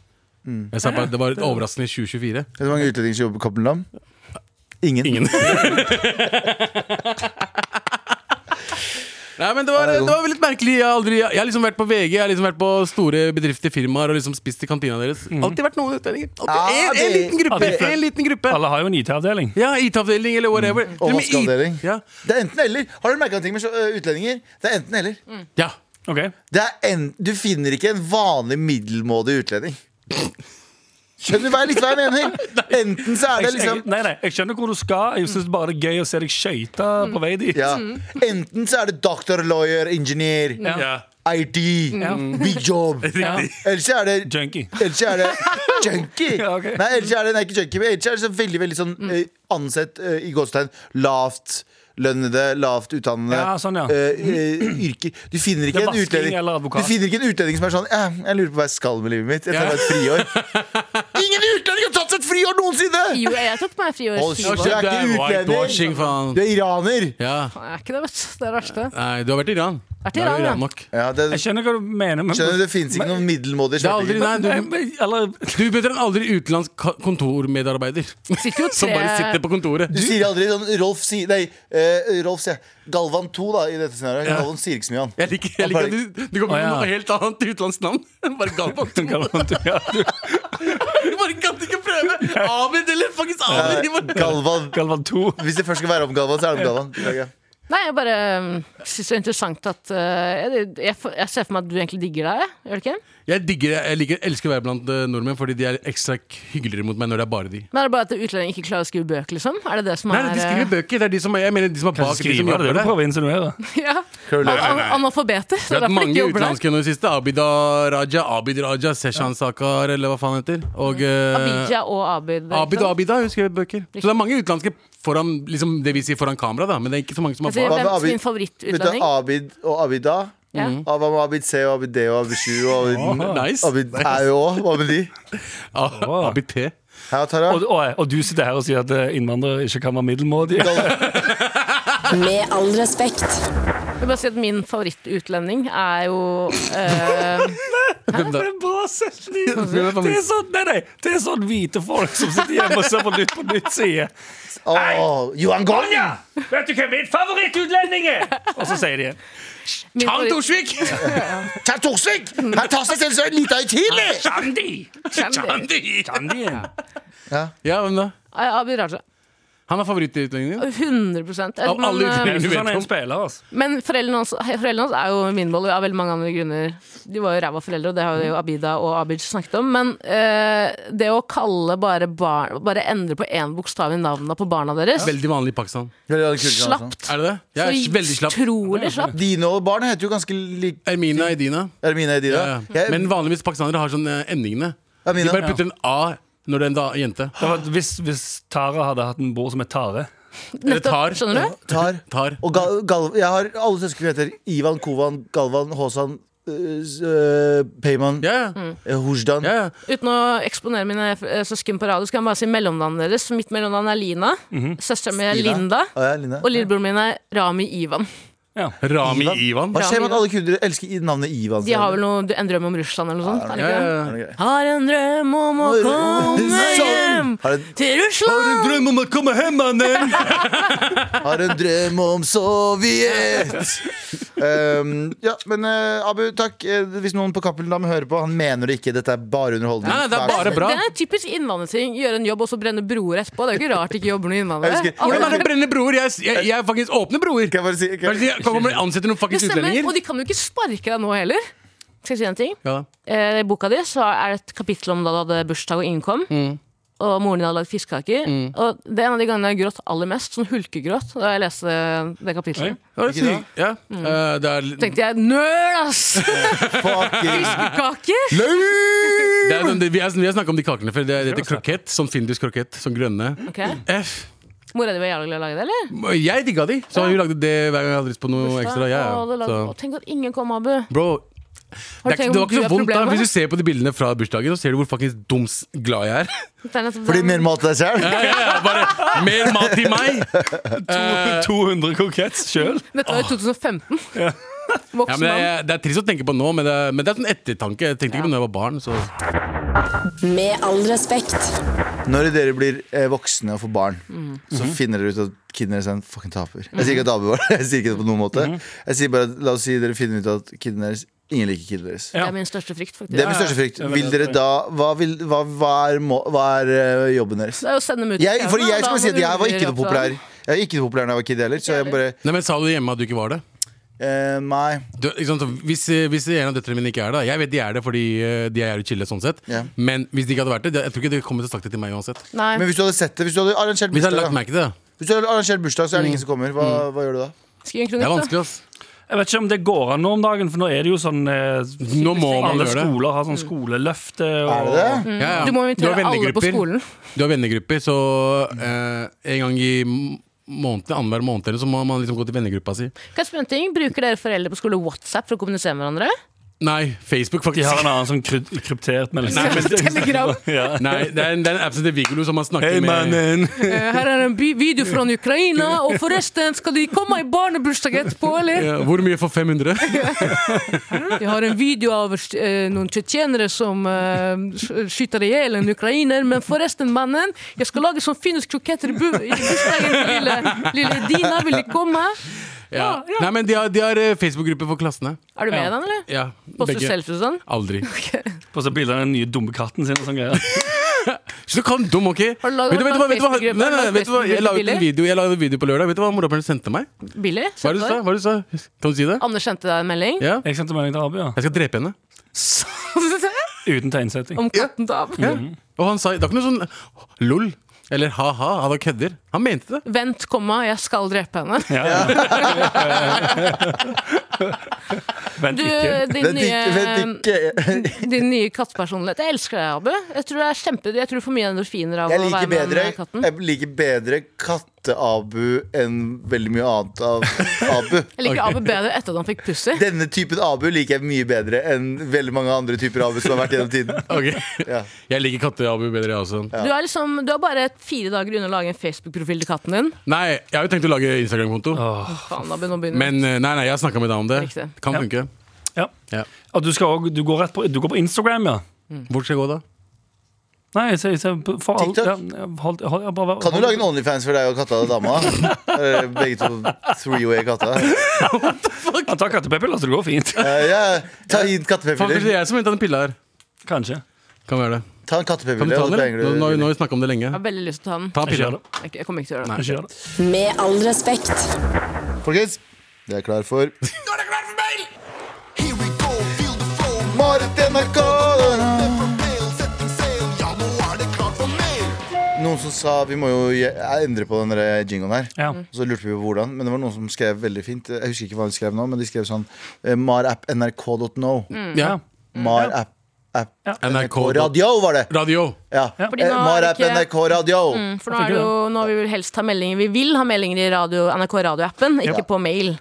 B: Mm.
C: Jeg sa bare Det var et overraskende i 2024.
B: Vet du hvor mange utlendinger som jobber på Cappelen Dam? Ingen.
C: Ingen. Nei, men det var, det var litt merkelig. Jeg har, aldri, jeg har liksom vært på VG, jeg har liksom vært på store bedrifter, firmaer og liksom spist i kantina deres. Alltid vært noen utlendinger. Alltid
B: Ja,
C: en, en
B: det-
C: liten gruppe!
E: Alltid.
C: En liten gruppe
E: Alle har jo en IT-avdeling.
C: Ja, IT-avdeling eller whatever. Til
B: Og
C: med I-
B: vaskeavdeling.
C: Ja.
B: Det er enten eller. Har du merka en ting med så- øh, utlendinger? Det er enten eller.
C: ja.
E: Ok,
B: Det er en, du finner ikke en vanlig middelmådig utlending. Skjønner du hva jeg- litt hva jeg mener? Enten så er det
E: jeg,
B: liksom
E: jeg, Nei, nei, jeg skjønner hvor du skal. Jeg syns bare det er gøy å se deg skøyte på vei dit.
B: ja. Enten så er det doctor, lawyer, engineer,
E: Ja.
C: ja.
B: IT, big job.
C: Riktig.
B: Eller så er det
E: Junkie.
B: Ellers er det junkie.
E: Ja, ok.
B: Nei, ellers er det nei, ikke junkie, men ellers er det så veldig veldig sånn eh, ansett eh, i gåstegn lavt lønnede, lavt utdannede
E: Ja, sånn, ja.
B: eh, eh, yrker. Du finner ikke
E: Det er
B: en
E: vasking
B: utlending
E: eller advokat.
B: Du finner ikke en utlending som er sånn eh, 'Jeg lurer på hva jeg skal med livet mitt. Jeg tar meg
C: Ja.
B: et friår.' Ingen utlending har tatt seg et friår noensinne!
D: Jo, jeg tok meg fri i
B: Hold
D: år. syv år.
B: kjeft, du er
C: Det
B: ikke
C: er whitewashing,
B: utlending.
C: faen.
B: Du er iraner.
C: Ja.
D: Nei, jeg er ikke det, vet du. Det er det verste.
C: Nei, du har vært i Iran.
D: Vært i
C: Da er du
D: Iran, ja.
C: nok.
B: Ja, det,
E: Jeg skjønner hva du mener. Men,
B: skjønner du, det finnes ikke noen middelmådige
C: Det er aldri,
B: svartinger.
C: nei,
E: Nei,
C: du,
E: men- eller
C: du er bedre enn aldri utenlandsk ka- kontormedarbeider.
D: Sitter jo
C: Som bare
D: tre
C: sitter på kontoret.
B: Du sier aldri sånn Rolf sier Nei, eh, Rolf sier Galvan 2, da, i dette scenarioet.
C: Ja.
B: Galvan sier ikke så mye, han.
C: Jeg liker, jeg liker at du, du kommer
E: Å,
C: med
E: ja.
C: noe helt annet utenlandsk navn. Bare Galvan.
E: Du kan- ja, du-
C: Du bare kan ikke prøve! Abid eller faktisk Abid! De
B: Eh,
C: bare-
B: Galvan
E: Galvan 2.
B: Hvis det først skal være om Galvan, så er det om Galvan. Beklager.
D: Nei, jeg bare um, syns det er interessant at uh, jeg, jeg, jeg ser for meg at du egentlig digger deg, gjør du ikke?
C: Jeg digger, jeg liker, elsker å være blant eh, nordmenn, fordi de er ekstra k- hyggeligere mot meg når det er bare de.
D: Men er det bare at utlendinger ikke klarer å skrive bøker, liksom? Er det det som
C: Nei,
D: er
C: de skriver bøker. Det er de som, jeg mener de som er bak, de som
E: Skriver det
C: jobber
E: du
C: der.
E: prøver å insinuere?
D: ja. An Analfabeter.
C: Det
D: Det er
C: har vært
D: derfor de
C: mange
D: ikke jobber der.
C: utenlandske nå i det siste. Abid Raja, Abid Raja, Seshan Sakar, eller hva faen heter. Og eh,
D: Abidja og Abid.
C: Abid og
D: liksom.
C: Abida har jo skrevet bøker. Så det er mange utenlandske foran, liksom, det vi sier foran kamera, da. Men det er ikke så mange som
D: Jeg
C: har
D: sier
C: bak.
B: Hva
D: hvem som er
B: med Abid?
D: min
B: Vet du,
D: favorittutlending.
B: Abid og Abida.
D: Ja.
B: Ah, Hva med Abid C og Abid D og Abid 7 og Abid,
C: Nice.
B: Abid er jo òg? Hva med de?
C: Ah, Abid P.
B: Hei, Tara.
E: Og, og, og du sitter her og sier at eh, innvandrere ikke kan være middelmådige.
A: Med all respekt.
D: Jeg vil bare si at min favorittutlending er jo eh,
C: Hvem da?
E: Det er en bra setning!
C: Det er
E: Det er sånn, nei, nei, det er sånn hvite folk som sitter hjemme og ser på Nytt på nytt side.
B: Åh, Johan Gonya!
E: Vet du hvem min favorittutlending er? Og så sier de igjen.
D: min
C: Han
D: favoritt-
C: Torsvik!
B: Kjær Torsvik! Han tar seg selv så lite høytidelig!
E: Gandhi!
D: Kjendis.
E: Gandhi igjen.
C: Ja, hvem da?
D: Nei, Abid Raja.
C: Han er favorittutlendingen din.
D: 100
C: Av alle
D: men, eh,
C: utlendinger.
E: Jeg synes han er en spiller, altså.
D: men foreldrene hans, foreldrene hans er jo minboller av veldig mange andre grunner. De var jo ræva foreldre, og det har jo
C: Mm.
D: Abida og Abid snakket om. Men eh, det å kalle bare barn Bare endre på én bokstav i navnene på barna deres
C: Veldig vanlig i Pakistan.
D: Slapt.
C: Er det det? Jeg
D: Så
C: er veldig slapp.
D: Utrolig slapp.
B: altså. Dine og barn heter jo ganske lik
C: Ermina Edina.
B: Ermine Edina.
C: Ja, ja.
B: Jeg-
C: Men vanligvis pakistanere har sånn eh, endingene. De
B: Ermina.
C: bare putter en A når det er en da, jente.
E: Det var, hvis, hvis Tara hadde hatt en bror som het Tare
C: Eller tar.
D: Skjønner du?
B: Tar.
C: Tar.
B: Og Gal Gal jeg har alle søsken som heter Ivan, Kovan, Galvan, Håsan, øh, s- øh, Peyman,
C: Ja, ja.
B: øh, Hojdan.
C: ja, ja.
D: Uten å eksponere mine eh, søsken på radio, så kan jeg bare si mellomnavnet deres. Mitt mellomnavn er Lina.
C: Mhm.
D: Søsteren min er
B: Ina.
D: Linda.
B: Å, ja, Lina.
D: Og lillebroren min er Rami Ivan.
C: Rami
B: Ivan.
C: Ivan.
B: Hva skjer med at alle kunder elsker i- navnet Ivan?
D: De har vel noe, en drøm om Russland eller noe sånt? er det
C: Ja,
D: ikke det?
C: ja, ja.
D: Har en drøm om å komme hjem
C: Sånn.
B: Har en,
D: til Russland!
E: drøm om å komme hjem, mannen!
B: har en drøm om Sovjet! Um, ja, men eh, Abu, takk. Eh, Hvis noen på Cappelen Dam hører på, han mener det ikke. Dette er bare underholdning.
C: Nei, nei, det er bare bra.
D: Det er en typisk innvandrerting. Gjøre en jobb og så brenne broer etterpå. Det er jo ikke rart de ikke jobber noen
B: Jeg
D: innvandrere.
B: husker-
D: Alle
C: Hvordan er det
D: bare-
C: å brenne broer? Jeg, jeg, jeg er faktisk åpne broer.
B: Kan jeg bare si,
C: Hva
B: kan
C: er
B: jeg,
C: det de- Kommer de ansette noen
D: Det
C: fuckings
D: stemmer, og
C: utlendinger?
D: de kan jo ikke sparke deg nå heller. Skal jeg si en ting?
C: Ja.
D: Eh, I boka di så er det et kapittel om da du hadde bursdag og innkom.
B: Mm.
D: Og moren din hadde lagd fiskekaker. Og det er en av de gangene jeg gråt aller mest, sånn hulkegråt, da jeg leste det kapitlet.
C: Ja, det er sykt. Ja. Eh, det er-
D: tenkte jeg nøl, ass!
B: fucking
D: Fiskekaker!
C: det er sånn- det- Vi har vi har snakket om de kakene før. Det heter krokett. Sånn findus krokett. Sånn grønne.
D: Okay.
C: F.
D: Mora di var jævlig glad i å lage det, eller?
C: Jeg digga de, så hun lagde det hver gang jeg hadde lyst på noe
D: Bursdag,
C: ekstra. Ja,
D: og det
C: ja.
D: lagde-
C: Så.
D: og Tenk at ingen kom, Abu.
C: Bro,
D: Har
C: det,
D: du
C: er,
D: tenkt
C: ikke- det
D: om
C: var ikke
D: du
C: så
D: er
C: vondt da Hvis du
D: problemet?
C: ser på de bildene fra bursdagen, Så ser du hvor fucking dums glad jeg er.
D: Det er nettopp
B: Fordi
D: den-
B: mer mat til deg selv?
C: Ja, ja, ja, bare mer mat til meg! Eh,
E: 200 kokett sjøl.
D: Dette var i 2015.
C: Ja,
D: Voksen
C: men det,
D: mann.
C: er, det er trist å tenke på nå, men det, er- men det er sånn ettertanke. Jeg tenkte ikke på da jeg var barn. Så.
A: Med all respekt.
B: Når dere blir eh, voksne og får barn,
D: Mm.
B: så
D: Mhm.
B: finner dere ut at kiden deres er en fucking taper. Jeg sier ikke at taper var det, jeg sier ikke det på noen måte.
D: Mhm.
B: Jeg sier bare at, La oss si dere finner ut at kiden deres Ingen liker kiden deres.
D: Det er min største frykt, faktisk.
B: Det
D: Det
B: er min største frykt.
E: jeg er veldig
B: Vil dere
E: enig.
B: da Hva, vil, hva, hva, er, må, hva er eh, jobben deres?
D: er jo å sende dem ut i
B: Jeg, for
D: skauen, da
B: jeg
D: må
B: skal bare si
D: du
B: at jeg var ikke
D: gjøre
B: noe populær
D: oppdrag.
B: Jeg var ikke noe populær da jeg var kid heller. Så jeg bare
C: Nei, men Sa du hjemme at du ikke var det?
B: eh, Nei.
C: Du, ikke sant? så Hvis, eh, hvis en av døtrene mine ikke er det Jeg vet de er det fordi eh, de er jo chille, sånn sett.
B: Ja.
C: Men hvis de ikke hadde vært det, de- jeg tror ikke de kommer til å sagt det til meg uansett.
D: Nei.
B: Men hvis du hadde sett det, hvis du hadde arrangert
C: Hvis jeg
B: bursdag,
C: hadde lagt Mm.
B: da.
C: merke til det.
B: Hvis du hadde arrangert bursdag så er det ingen som kommer, hva, hva gjør du da?
D: Skriv en
C: Det
D: kronikk,
C: er
D: da.
C: vanskelig, ass.
E: Jeg vet ikke om det går an nå om dagen, for nå er det jo sånn eh,
C: Nå må man
E: Alle
C: gjøre det.
E: skoler har sånn skoleløft.
B: Er det det?
C: Ja, ja.
D: Du må
C: har
D: invitere alle på
C: vennegrupper.
D: skolen.
C: Du har vennegrupper, så eh, en gang i m- måneden, annenhver måned eller så må man liksom gå til vennegruppa si.
D: Kan jeg spørre en ting? Bruker dere foreldre på skole WhatsApp for å kommunisere med hverandre?
C: Nei, Facebook,
E: De
C: faktisk.
E: har en annen sånn kryp- kryptert melding.
C: Nei, men-
D: Telegram.
E: Ja.
C: Nei, det er en, det er en app som heter Vigolo som man snakker
E: Hey,
C: med
E: mannen!
D: Eh, Her er en bi- video fra Ukraina, og forresten, skal de komme i barnebursdag etterpå, eller?
C: Ja, Hvor mye for 500?
D: Vi har en video av eh, noen tsjetsjenere som eh, sk- skyter i hjel en ukrainer, men forresten, mannen, jeg skal lage sånn finsk kroketter i bu- i bursdagen til lille, lille Dina, vil de komme?
C: Ja. Nei, men de har, de har eh, Facebook-gruppe for klassene.
D: Er du med i den, eller?
C: Ja,
D: Poster
C: begge.
D: selfies og sånn?
C: Aldri.
E: På så bilder av den nye dumme katten sin. og sånn greier.
C: Så kan dum, ok? Vet
D: Har
C: du,
D: du laget-
C: vet du, hva-
D: har du
C: vet du, hva-
D: laget
C: nei, nei,
D: Facebook-gruppe?
C: vet du hva, jeg la ut en
D: Facebook-bilder?
C: video, jeg la ut en video på lørdag. Vet du hva morapuleren sendte meg?
D: sånn? Billig?
C: Hva er det du sa? Hva er det du sa? Kan du si det?
D: Anders sendte deg en melding.
C: Ja?
E: Jeg sendte melding til Abu, ja.
C: Jeg skal drepe henne.
E: Uten tegnsetting.
D: Om katten til Abu.
C: Ja. Og han sa Det var ikke noe sånn lol eller ha-ha, han var kødder. Han mente det.
D: Vent, komma, jeg skal drepe henne.
E: Ja, ja. Vent
D: Du,
E: ikke.
D: din Mm,
B: Vent ikke,
D: nye
B: vent ikke.
D: Din nye kattepersonlighet. Jeg elsker deg, Abu. Jeg tror det er kjempe Jeg tror du får mye endorfiner av
B: Jeg
D: å
B: liker
D: være med
B: bedre,
D: den katten.
B: jeg liker bedre katte-Abu enn veldig mye annet av Abu.
D: Jeg liker Abu bedre etter at han fikk pussy.
B: Denne typen Abu liker jeg mye bedre enn veldig mange andre typer Abu som har vært gjennom tiden.
C: Ok
B: Ja.
C: Jeg liker katte-Abu bedre, jeg også.
D: Du er liksom Du er bare fire dager unna å lage en Facebook-profil til katten din.
C: Nei, jeg har jo tenkt å lage Instagram-konto.
D: Faen, Abu, nå begynner
C: Men eh, nei, nei, jeg har snakka med deg om det.
D: Riktig.
C: Kan
E: Ja.
C: funke.
E: Ja.
C: Ja.
E: Og du, skal også, du, går rett på, du går på Instagram, ja?
C: Hvor skal jeg gå, da?
E: Nei, jeg, jeg, jeg, for alt,
B: TikTok?
E: ja, hold, hold, ja, bare,
B: Kan du lage en Onlyfans for deg og katta og dama? Eh, Begge to three-way katta.
E: Han tar kattepepiller, så altså, det går fint.
B: Eh, ja, ta inn
C: Faen, kanskje det
B: kattepepiller.
C: er jeg som henta den pilla her.
E: Kanskje.
C: Kan være det.
B: Ta en
C: Kan du
B: kattepepiller.
C: ta
B: og
C: den?
B: så
C: eller? Nå,
B: banger
C: nå,
B: du-
C: nå har vi snakka om det lenge.
D: Jeg har veldig lyst til å ta den.
C: Ta
E: Jeg
C: pilla.
E: gjør det.
D: Jeg- Jeg kommer ikke til å gjøre det.
E: Jeg gjør det.
A: Med all respekt.
B: Folkens, det er klar for Marit NRK! Noen som sa vi må jo je- endre på den der jinglen her.
E: Ja.
B: Og Så lurte vi på hvordan, men det var noen som skrev veldig fint. Jeg husker ikke hva de skrev nå, men de skrev sånn eh, marapp.nrk.no.
C: Ja.
B: Marapp. App, NRK
C: NRK.
B: Radio, var det!
C: Radio.
B: Ja.
D: Fordi nå
B: Eh,
D: er
B: Marapp
D: ikke- Mm.
B: NRK Radio.
D: For nå, er det jo, nå vil vi helst ha meldinger Vi vil ha meldinger i radio, NRK radioappen, ikke på mail.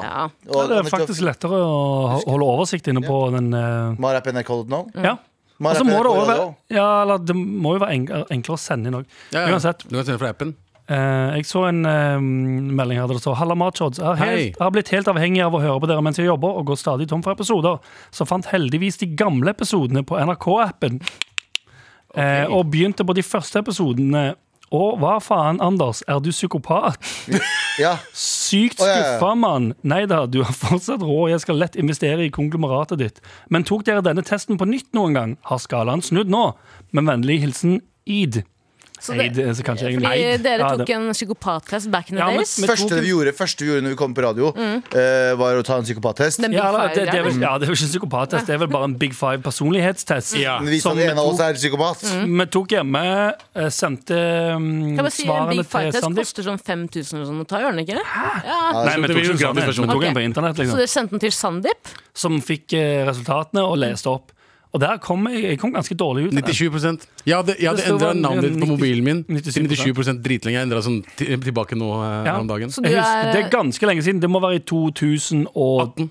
D: Ja.
E: Ja,
B: Og,
E: det er faktisk lettere å holde oversikt inne på den eh,
B: Marapp NRK.no.
E: Ja. Og
B: Marapp
E: så må det
B: NRK
E: også være
B: Radio.
E: Ja, eller det må jo være enk- enklere å sende inn òg.
C: Ja, ja.
E: Uansett.
C: Du kan sende fra appen.
E: Eh, jeg så en eh, melding her der det står Halla Machods. Jeg har,
C: Hei.
E: helt, jeg har blitt helt avhengig av å høre på dere mens jeg jobber, og går stadig tom for episoder. Så fant heldigvis de gamle episodene på NRK-appen. Eh, og begynte på de første episodene. Å, hva faen, Anders, er du psykopat?
B: Ja.
E: Sykt
B: Å, ja, ja.
E: skuffa, mann. Nei da, du har fortsatt råd, jeg skal lett investere i konglomeratet ditt. Men tok dere denne testen på nytt noen gang? Har skalaen snudd nå? Med vennlig hilsen Eid.
D: det-
E: Eid, eh, så kanskje egentlig
D: Fordi
E: Eid.
D: dere
E: Ja,
D: tok
E: det-
D: en psykopattest back in the
E: Ja, men-
D: days.
E: men-
B: første vi, gjorde, første vi gjorde når vi kom på radio, eh, var å ta en psykopattest.
D: Den
E: ja, eller, det, det er
D: big
E: vel, ja, det er vel ikke en psykopattest, det er vel bare en Big Five personlighetstest.
C: Ja.
B: Den viste
E: Som
B: at en av
E: to-
B: oss er psykopat.
E: Vi tok hjemme, eh, sendte mm,
D: Kan jeg bare si, en
E: svarene
D: Big
E: til
D: Fight-test
E: Sandeep.
D: koster sånn 5000 eller sånn å ta, gjør den ikke? Ja.
E: Nei, vi
C: Det
E: tok
C: vil jo gratis
E: ikke den,
C: versjon.
E: vi tok den
D: Ok.
E: på internett,
D: Så
E: liksom.
D: dere sendte den til Sandeep?
E: Som fikk eh, resultatene og leste opp. Og der kom jeg, jeg kom ganske dårlig ut.
C: 97 Jeg hadde, jeg hadde
E: Det står
C: endra
E: bare
C: navnet ditt på
E: 90
C: mobilen min til
E: 97%.
C: 97 dritlenge. Jeg endra sånn ti- tilbake nå eh, her om dagen.
D: Så
E: Jeg
D: du
E: husker,
D: er- Mm.
E: det er ganske lenge siden. Det må være i 2018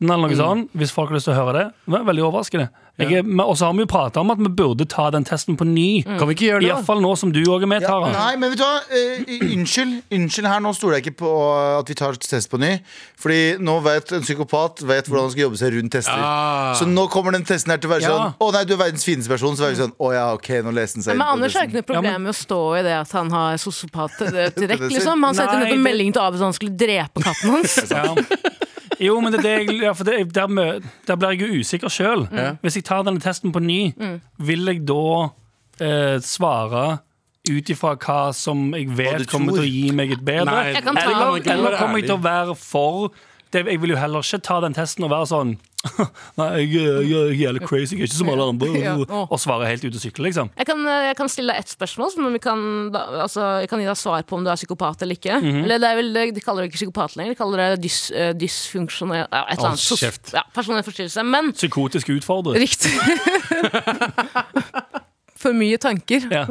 E: eller noe sånt. Hvis folk har lyst til å høre det. Det er veldig overraskende. Jeg er- men- Og så har vi jo prata om at vi burde ta den testen på ny.
D: Mm.
C: Kan vi ikke gjøre det, da?
E: Iallfall nå som du òg er med,
B: Ja,
E: Tara.
B: nei, men vet du hva? Eh, unnskyld. Unnskyld her, nå stoler jeg ikke på at vi tar test på ny. Fordi nå vet en psykopat vet hvordan han skal jobbe seg rundt tester.
C: Ah.
B: Så nå kommer den testen her til å være
E: Ja.
B: sånn Å nei, du er verdens fineste person. Så er vi sånn Å ja, ok, nå leste den seg
D: Men
B: på
D: Anders har
B: testen.
D: ikke noe problem med å stå i det at han har sosiopat eh, trekk, liksom. Han sendte
E: Nei,
D: nettopp
E: det-
D: melding til Abid at han skulle drepe katten hans.
E: Ja. Jo, men det er det jeg, ja, for det, der, mø- der blir jeg jo usikker sjøl.
D: Mm.
E: Hvis jeg tar denne testen på ny, vil jeg da eh, svare ut ifra hva som jeg
B: du
E: vet kommer til å
B: tror.
E: gi meg et bedre?
C: Nei,
D: Jeg kan ta-
C: eller-
E: Eller,
D: Eller-
E: eller
C: være
E: kommer jeg til å
C: ærlig.
E: være for det, Jeg vil jo heller ikke ta den testen og være sånn Nei, jeg, jeg, jeg er jævlig crazy, jeg er ikke som alle
D: Ja.
E: andre. Og svare helt ute og sykle, liksom.
D: Jeg kan, eh, jeg kan stille deg ett spørsmål, men vi kan, da, altså, jeg kan gi deg svar på om du er psykopat eller ikke.
E: Mhm.
D: Eller det er vel, De kaller det ikke psykopat lenger, de kaller det dys, eh, dysfunksjonell ja, Et eller
C: Hold
D: annet. sos-
C: kjeft.
D: Ja, Personlighetsforstyrrelse. Men
E: Psykotisk utfordret.
D: riktig. For mye tanker.
E: Ja.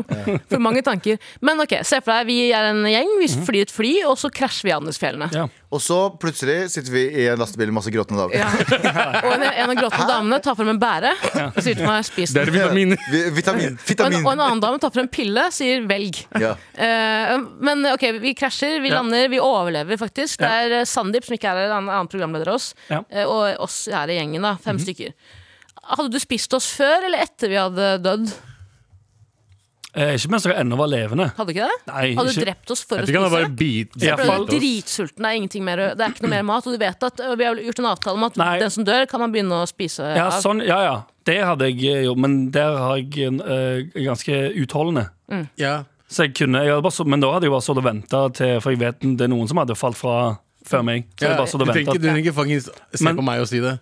D: For mange tanker. Men ok, se for deg vi er en gjeng, vi
E: Mhm.
D: flyr et fly, og så krasjer vi i Andesfjellene.
E: Ja.
B: Og så plutselig sitter vi i en lastebil med masse gråtende damer.
D: Ja. Og en, en av gråtende damene tar frem en bære og sier til meg 'spis
C: Det er
D: den'.
C: vitaminer.
B: Vi- Vitamin.
D: Og en,
B: Vitamin.
D: og en annen dame tar frem en pille og sier 'velg'.
B: Ja.
D: Eh, men ok, vi krasjer, vi
E: Ja.
D: lander, vi overlever faktisk. Det er eh, Sandeep, som ikke er her, en annen- annen programleder av oss,
E: Ja. Mhm.
D: eh, og oss her i gjengen, da. Fem stykker. Hadde du spist oss før eller etter vi hadde dødd?
E: Eh, ikke mens dere ennå var levende.
D: Hadde ikke det?
E: Nei,
D: hadde du
E: ikke.
D: drept oss for å
C: Jeg tror ikke han har
D: spise?
C: bare bit,
E: Ja,
D: For
E: fall-
D: du er dritsulten, det er ingenting mer Det er ikke noe mer mat. Og du vet at ø, vi har gjort en avtale om at
E: Nei.
D: den som dør, kan man begynne å spise
E: Ja,
D: av.
E: sånn, ja, ja. Det hadde jeg eh, gjort, men der har jeg eh, ganske utholdende.
C: Ja.
E: Så jeg kunne, jeg hadde bare, så- men da hadde jeg bare stått og venta til For jeg vet det er noen som hadde falt fra før meg. Så jeg
C: Ja,
E: bare
C: du
E: stått og
C: trenger ikke-
E: ventet.
C: du trenger ikke fucking se
E: Men-
C: på meg og si det.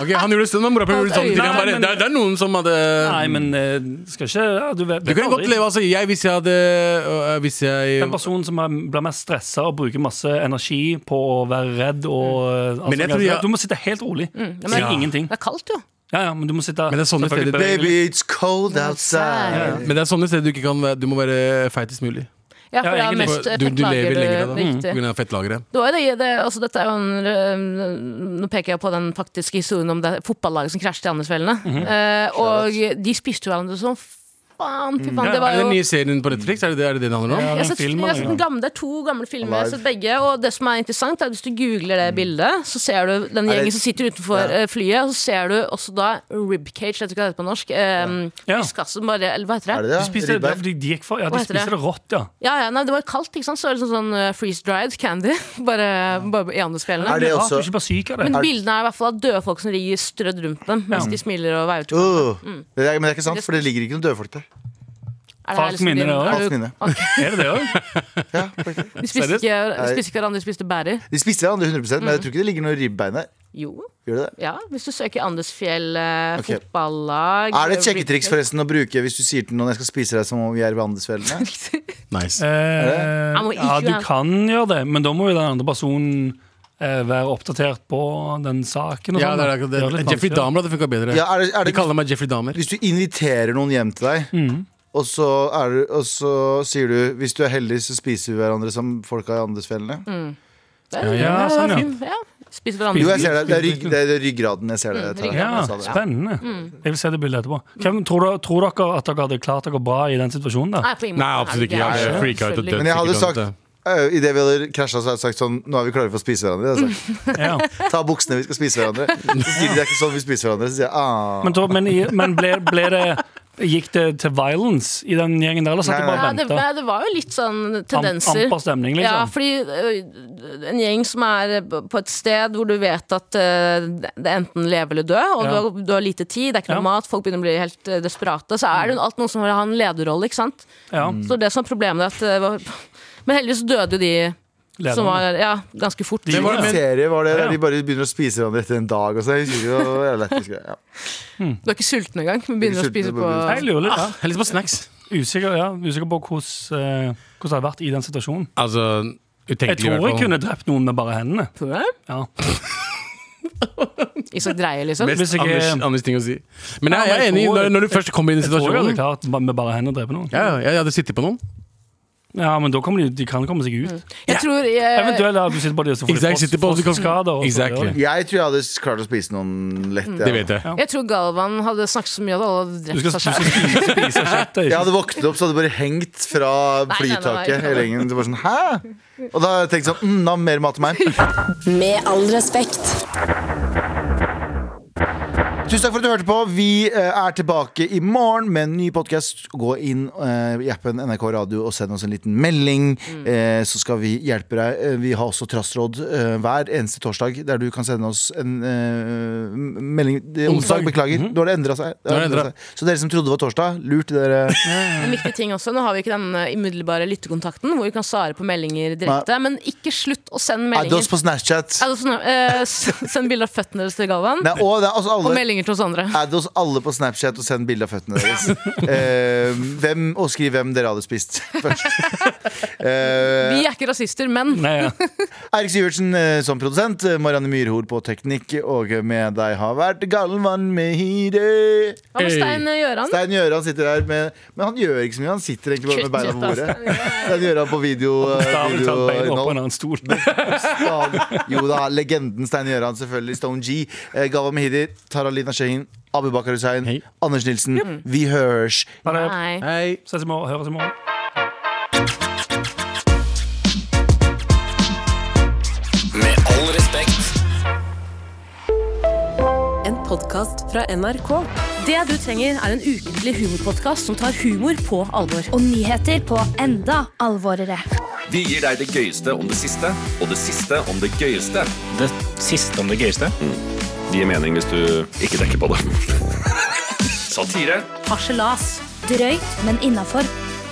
C: Ok, Han gjorde det sånn, men mora gjorde det sånn til
E: Nei,
C: han bare,
E: men-
C: det, er- det er noen som
E: Nei,
C: hadde
E: men eh, skal ikke ja, Du, vet,
C: Du
E: vet
C: kunne godt
E: aldri.
C: leve, altså. Jeg, hvis jeg hadde øh, Hvis jeg
E: En person som er- blir mest stressa og bruker masse energi på å være redd og altså,
C: Men jeg tror jeg-
E: Du må sitte helt rolig.
D: Mm. men-
E: Si
C: Ja.
E: ingenting.
D: Det er kaldt, jo.
E: Ja, ja, men du må sitte
C: Men det er sånne steder-
E: selvfølgelig beveger deg.
B: Baby, it's cold outside.
E: Ja,
C: Men det er sånne steder du ikke kan være Du må være feitest mulig.
D: Ja, for det er
E: egentlig.
D: mest eh,
C: Du, du lever
E: øh,
C: lenger da,
D: fettlager
C: da.
D: du-
C: På
D: riktig.
C: grunn av Mm. fettlageret.
D: Det var jo det, det, altså dette er jo en, ø, nå peker jeg på den faktiske historien om det fotballaget som krasjet i Andesfjellene. Eh, og de spiste jo hverandre som faen. Fy faen. Det var
C: Er det den
D: jo
C: nye serien på Netflix? Er det det er det, det det handler om?
E: Ja,
D: jeg har
E: den
D: sett,
E: filmen,
D: jeg har sett den
E: ja.
D: gamle, det er to gamle filmer. Jeg har
B: Alive.
D: sett begge Og det som er interessant er at Hvis du googler det bildet, så ser du den
B: det-
D: gjengen som sitter utenfor
B: Ja.
D: eh, flyet. Og så ser du også da ribcage, vet du hva det heter på norsk? Um,
E: Ja.
D: bare, eller hva heter det?
B: Er det det?
E: De spiste det,
B: Ribbein?
E: de, de gikk for, ja,
D: Hva
E: de
D: heter det?
E: spiste det rått, ja.
D: Ja, ja, nei, det var kaldt, ikke sant? Så er det sånn, sånn eh, freeze-dried candy. Bare, bare i Andesfjellene.
B: Er det
E: Rart
B: også-
E: du ikke bare syk av det.
D: Men bildene er i hvert fall av døde folk som ligger strødd rundt dem mens de smiler og veier til
B: Uh, det er, men det er ikke sant, for det ligger ikke noen døde folk der.
D: Er
E: Falsk
D: her liksom
E: minne,
D: din-
E: det også.
D: er du-
B: Falskt minne.
E: Er det det også?
B: Ja, faktisk.
D: De spiste,
C: Seriøst?
D: ikke, de spiste ikke hverandre, de spiste bærer.
B: de spiser hverandre 100
D: Mm.
B: men jeg tror ikke det ligger noe ribbein der.
D: Jo,
B: Gjør det det?
D: ja. Hvis du søker Andesfjell eh,
B: Ok.
D: fotballag eh,
B: Er det et sjekketriks forresten å bruke hvis du sier til noen jeg skal spise deg som om vi er ved Andesfjellene?
C: Nice.
E: Eh,
D: Jeg må ikke
E: ja, du
D: være-
E: kan gjøre det, men da må jo den andre personen eh, være oppdatert på den saken. Og
C: Ja,
E: sånn,
C: det
E: da.
C: er akkurat det.
E: gjør litt
C: Jeffrey
E: vanskelig.
C: Dahmer hadde funka bedre.
B: Ja, er det, er
C: De
B: det,
C: kaller meg Jeffrey Dahmer.
B: hvis du inviterer noen hjem til deg, og, så er du, og så sier du hvis du er heldig, så spiser vi hverandre som folka i Andesfjellene.
E: Ja, ja, sånn, ja.
D: Ja, spise hverandre.
B: Jo, jeg ser det. Det er, rygg, det er ryggraden jeg ser det. Tara.
E: Ja,
B: Jeg sa det.
E: spennende.
D: Mm.
E: Jeg vil se det bildet etterpå. Hvem, tror, dere- tror dere at dere hadde klart dere bra i den situasjonen? da?
D: Nei, på ingen måte.
C: Nei, absolutt ikke. Jeg
D: Herregud,
C: hadde freaka ut og
D: selvfølgelig.
C: dødd.
B: Men jeg hadde
C: sikkert
B: sagt
C: av det.
B: øh, i det vi hadde krasja, så hadde jeg sagt sånn Nå er vi klare for å spise hverandre. Det hadde jeg sagt.
E: Ja.
B: Ta buksene, vi skal spise hverandre. Så sier de det er ikke sånn vi spiser hverandre. Så sier jeg ah.
E: Men, tror- men, i- men ble, ble det Gikk det til violence i den gjengen der, eller satt de
B: Nei,
E: bare
D: Ja,
E: og
D: det,
E: venta?
D: nei, det var jo litt sånn tendenser.
E: amper stemning, liksom.
D: Ja, fordi ø, en gjeng som er ø, på et sted hvor du vet at ø, det enten lever eller dør, og
E: Ja.
D: du, har, du har lite tid, det er ikke noe
E: Ja.
D: mat, folk begynner å bli helt ø, desperate, så er det jo alt noen som vil ha en lederrolle, ikke sant?
E: Ja,
C: Mm.
D: Så det som er problemet er at ø, var- Men heldigvis døde jo de som
E: lederne.
D: var ja, ganske fort.
E: De gjorde
B: En
E: det.
B: serie var det
E: Ja, ja.
B: der de bare begynner å spise hverandre etter en dag. Og så, jeg husker ikke, og jeg lett, husker jeg. Ja.
D: Du er ikke sulten engang, men begynner å
B: Ikke
D: spise på
B: sulten, bare
E: Jeg lurer litt,
D: Ah.
E: ja.
C: Jeg er litt på snacks.
E: Usikker, ja. Usikker på hvordan, eh, hvordan det hadde vært i den situasjonen.
C: Altså,
E: Jeg
C: utenkelig i
E: tror jeg
C: hvert fall.
E: kunne drept noen med bare hendene.
D: Tror du det?
E: Ja.
D: Isak Dreie, liksom.
E: Hvis
C: Mest
E: jeg-
C: Anders, Anders ting å si. Men jeg,
E: Ja, men
C: jeg er
E: jeg
C: enig
E: tror-
C: når, når du først kommer inn i
E: Jeg tror jo det
C: situasjonen.
E: er klart at vi bare hender dreper noen.
C: Ja, ja, jeg hadde sittet på noen.
E: Ja, men da kommer de, de kan komme seg ut.
D: Jeg tror jeg,
E: Eventuelt at du sitter på de og så får de
C: Exact,
E: frost-
C: sitter på, og så kan-
E: frostskader. og så-
C: Exactly.
E: ja.
B: Jeg tror jeg hadde klart å spise noen lett.
C: Det vet jeg.
D: jeg tror Galvan hadde snakket så mye at alle hadde
E: Du
D: drept
E: skal, du
D: seg
E: skal
D: selv.
E: spise, spise kjøttet.
B: Jeg
E: ikke
B: hadde våknet opp, så hadde jeg bare hengt
D: nei,
B: fra
D: nei,
B: flytaket
D: nei.
B: hele gjengen. Det var sånn, hæ? Og da tenkte jeg sånn, mm, da mer mat til meg.
A: Med all respekt.
B: Tusen takk for at du hørte på. Vi eh, er tilbake i morgen med en ny podkast. Gå inn eh, i appen NRK Radio og send oss en liten melding,
D: Mm.
B: eh, så skal vi hjelpe deg. Eh, Vi har også trassråd eh, hver eneste torsdag, der du kan sende oss en eh, melding Det er
C: Onsdag.
B: Onsdag, beklager. Nå har det endra seg.
C: Nå har det endret
B: endret seg. Så dere som trodde det var torsdag, lurt dere.
D: En viktig ting også, Nå har vi ikke den eh, umiddelbare lyttekontakten hvor vi kan svare på meldinger direkte. Men ikke slutt å sende
B: Add oss
D: meldinger.
B: på Snapchat.
D: Altså, sånn, eh, s- send bilde av føttene deres til Galvan.
B: Nei, og det er også
D: Og
B: alle
D: meldinger til oss andre.
B: Add oss alle på Snapchat og send bilde av føttene deres. Eh, hvem, og skriv hvem dere hadde spist først. Eh,
D: Vi er ikke rasister, men
E: sånn- Nei, ja.
B: Eirik Sivertsen eh, som produsent, eh, Marianne Myrhol på teknikk, og med deg har vært Galvan Mehide.
D: hva med Stein eh, Gjøran?
B: Stein Gjøran sitter her med Men han gjør ikke så mye, han sitter egentlig bare med beina på bordet. Stein Gjøran på video,
E: Da
B: eh,
E: har vi tatt beina sånn opp på
B: videoinnhold.
E: en annen stol.
B: Stan- Jo da, legenden Stein Gjøran, selvfølgelig. Stone G. Eh, Galvan Mehidi, Taralina Shahin, Abu Bakar Hussein,
C: Hei.
B: Anders Nilsen. Vi hørs.
E: Ha det.
D: Nei.
C: Hei.
E: Ses i morgen. Høres i morgen.
H: Med all respekt.
I: En podkast fra NRK.
D: Det du trenger, er en ukentlig humorpodkast som tar humor på alvor.
J: og nyheter på enda alvorere.
H: Vi gir deg det gøyeste om det siste, og det siste om det gøyeste.
K: Det siste om det gøyeste.
H: Mm. Det gir mening hvis du ikke tenker på det. Satire.
D: Harselas.
J: Drøyt, men innafor.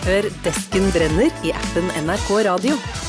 I: Hør Desken brenner i appen NRK Radio.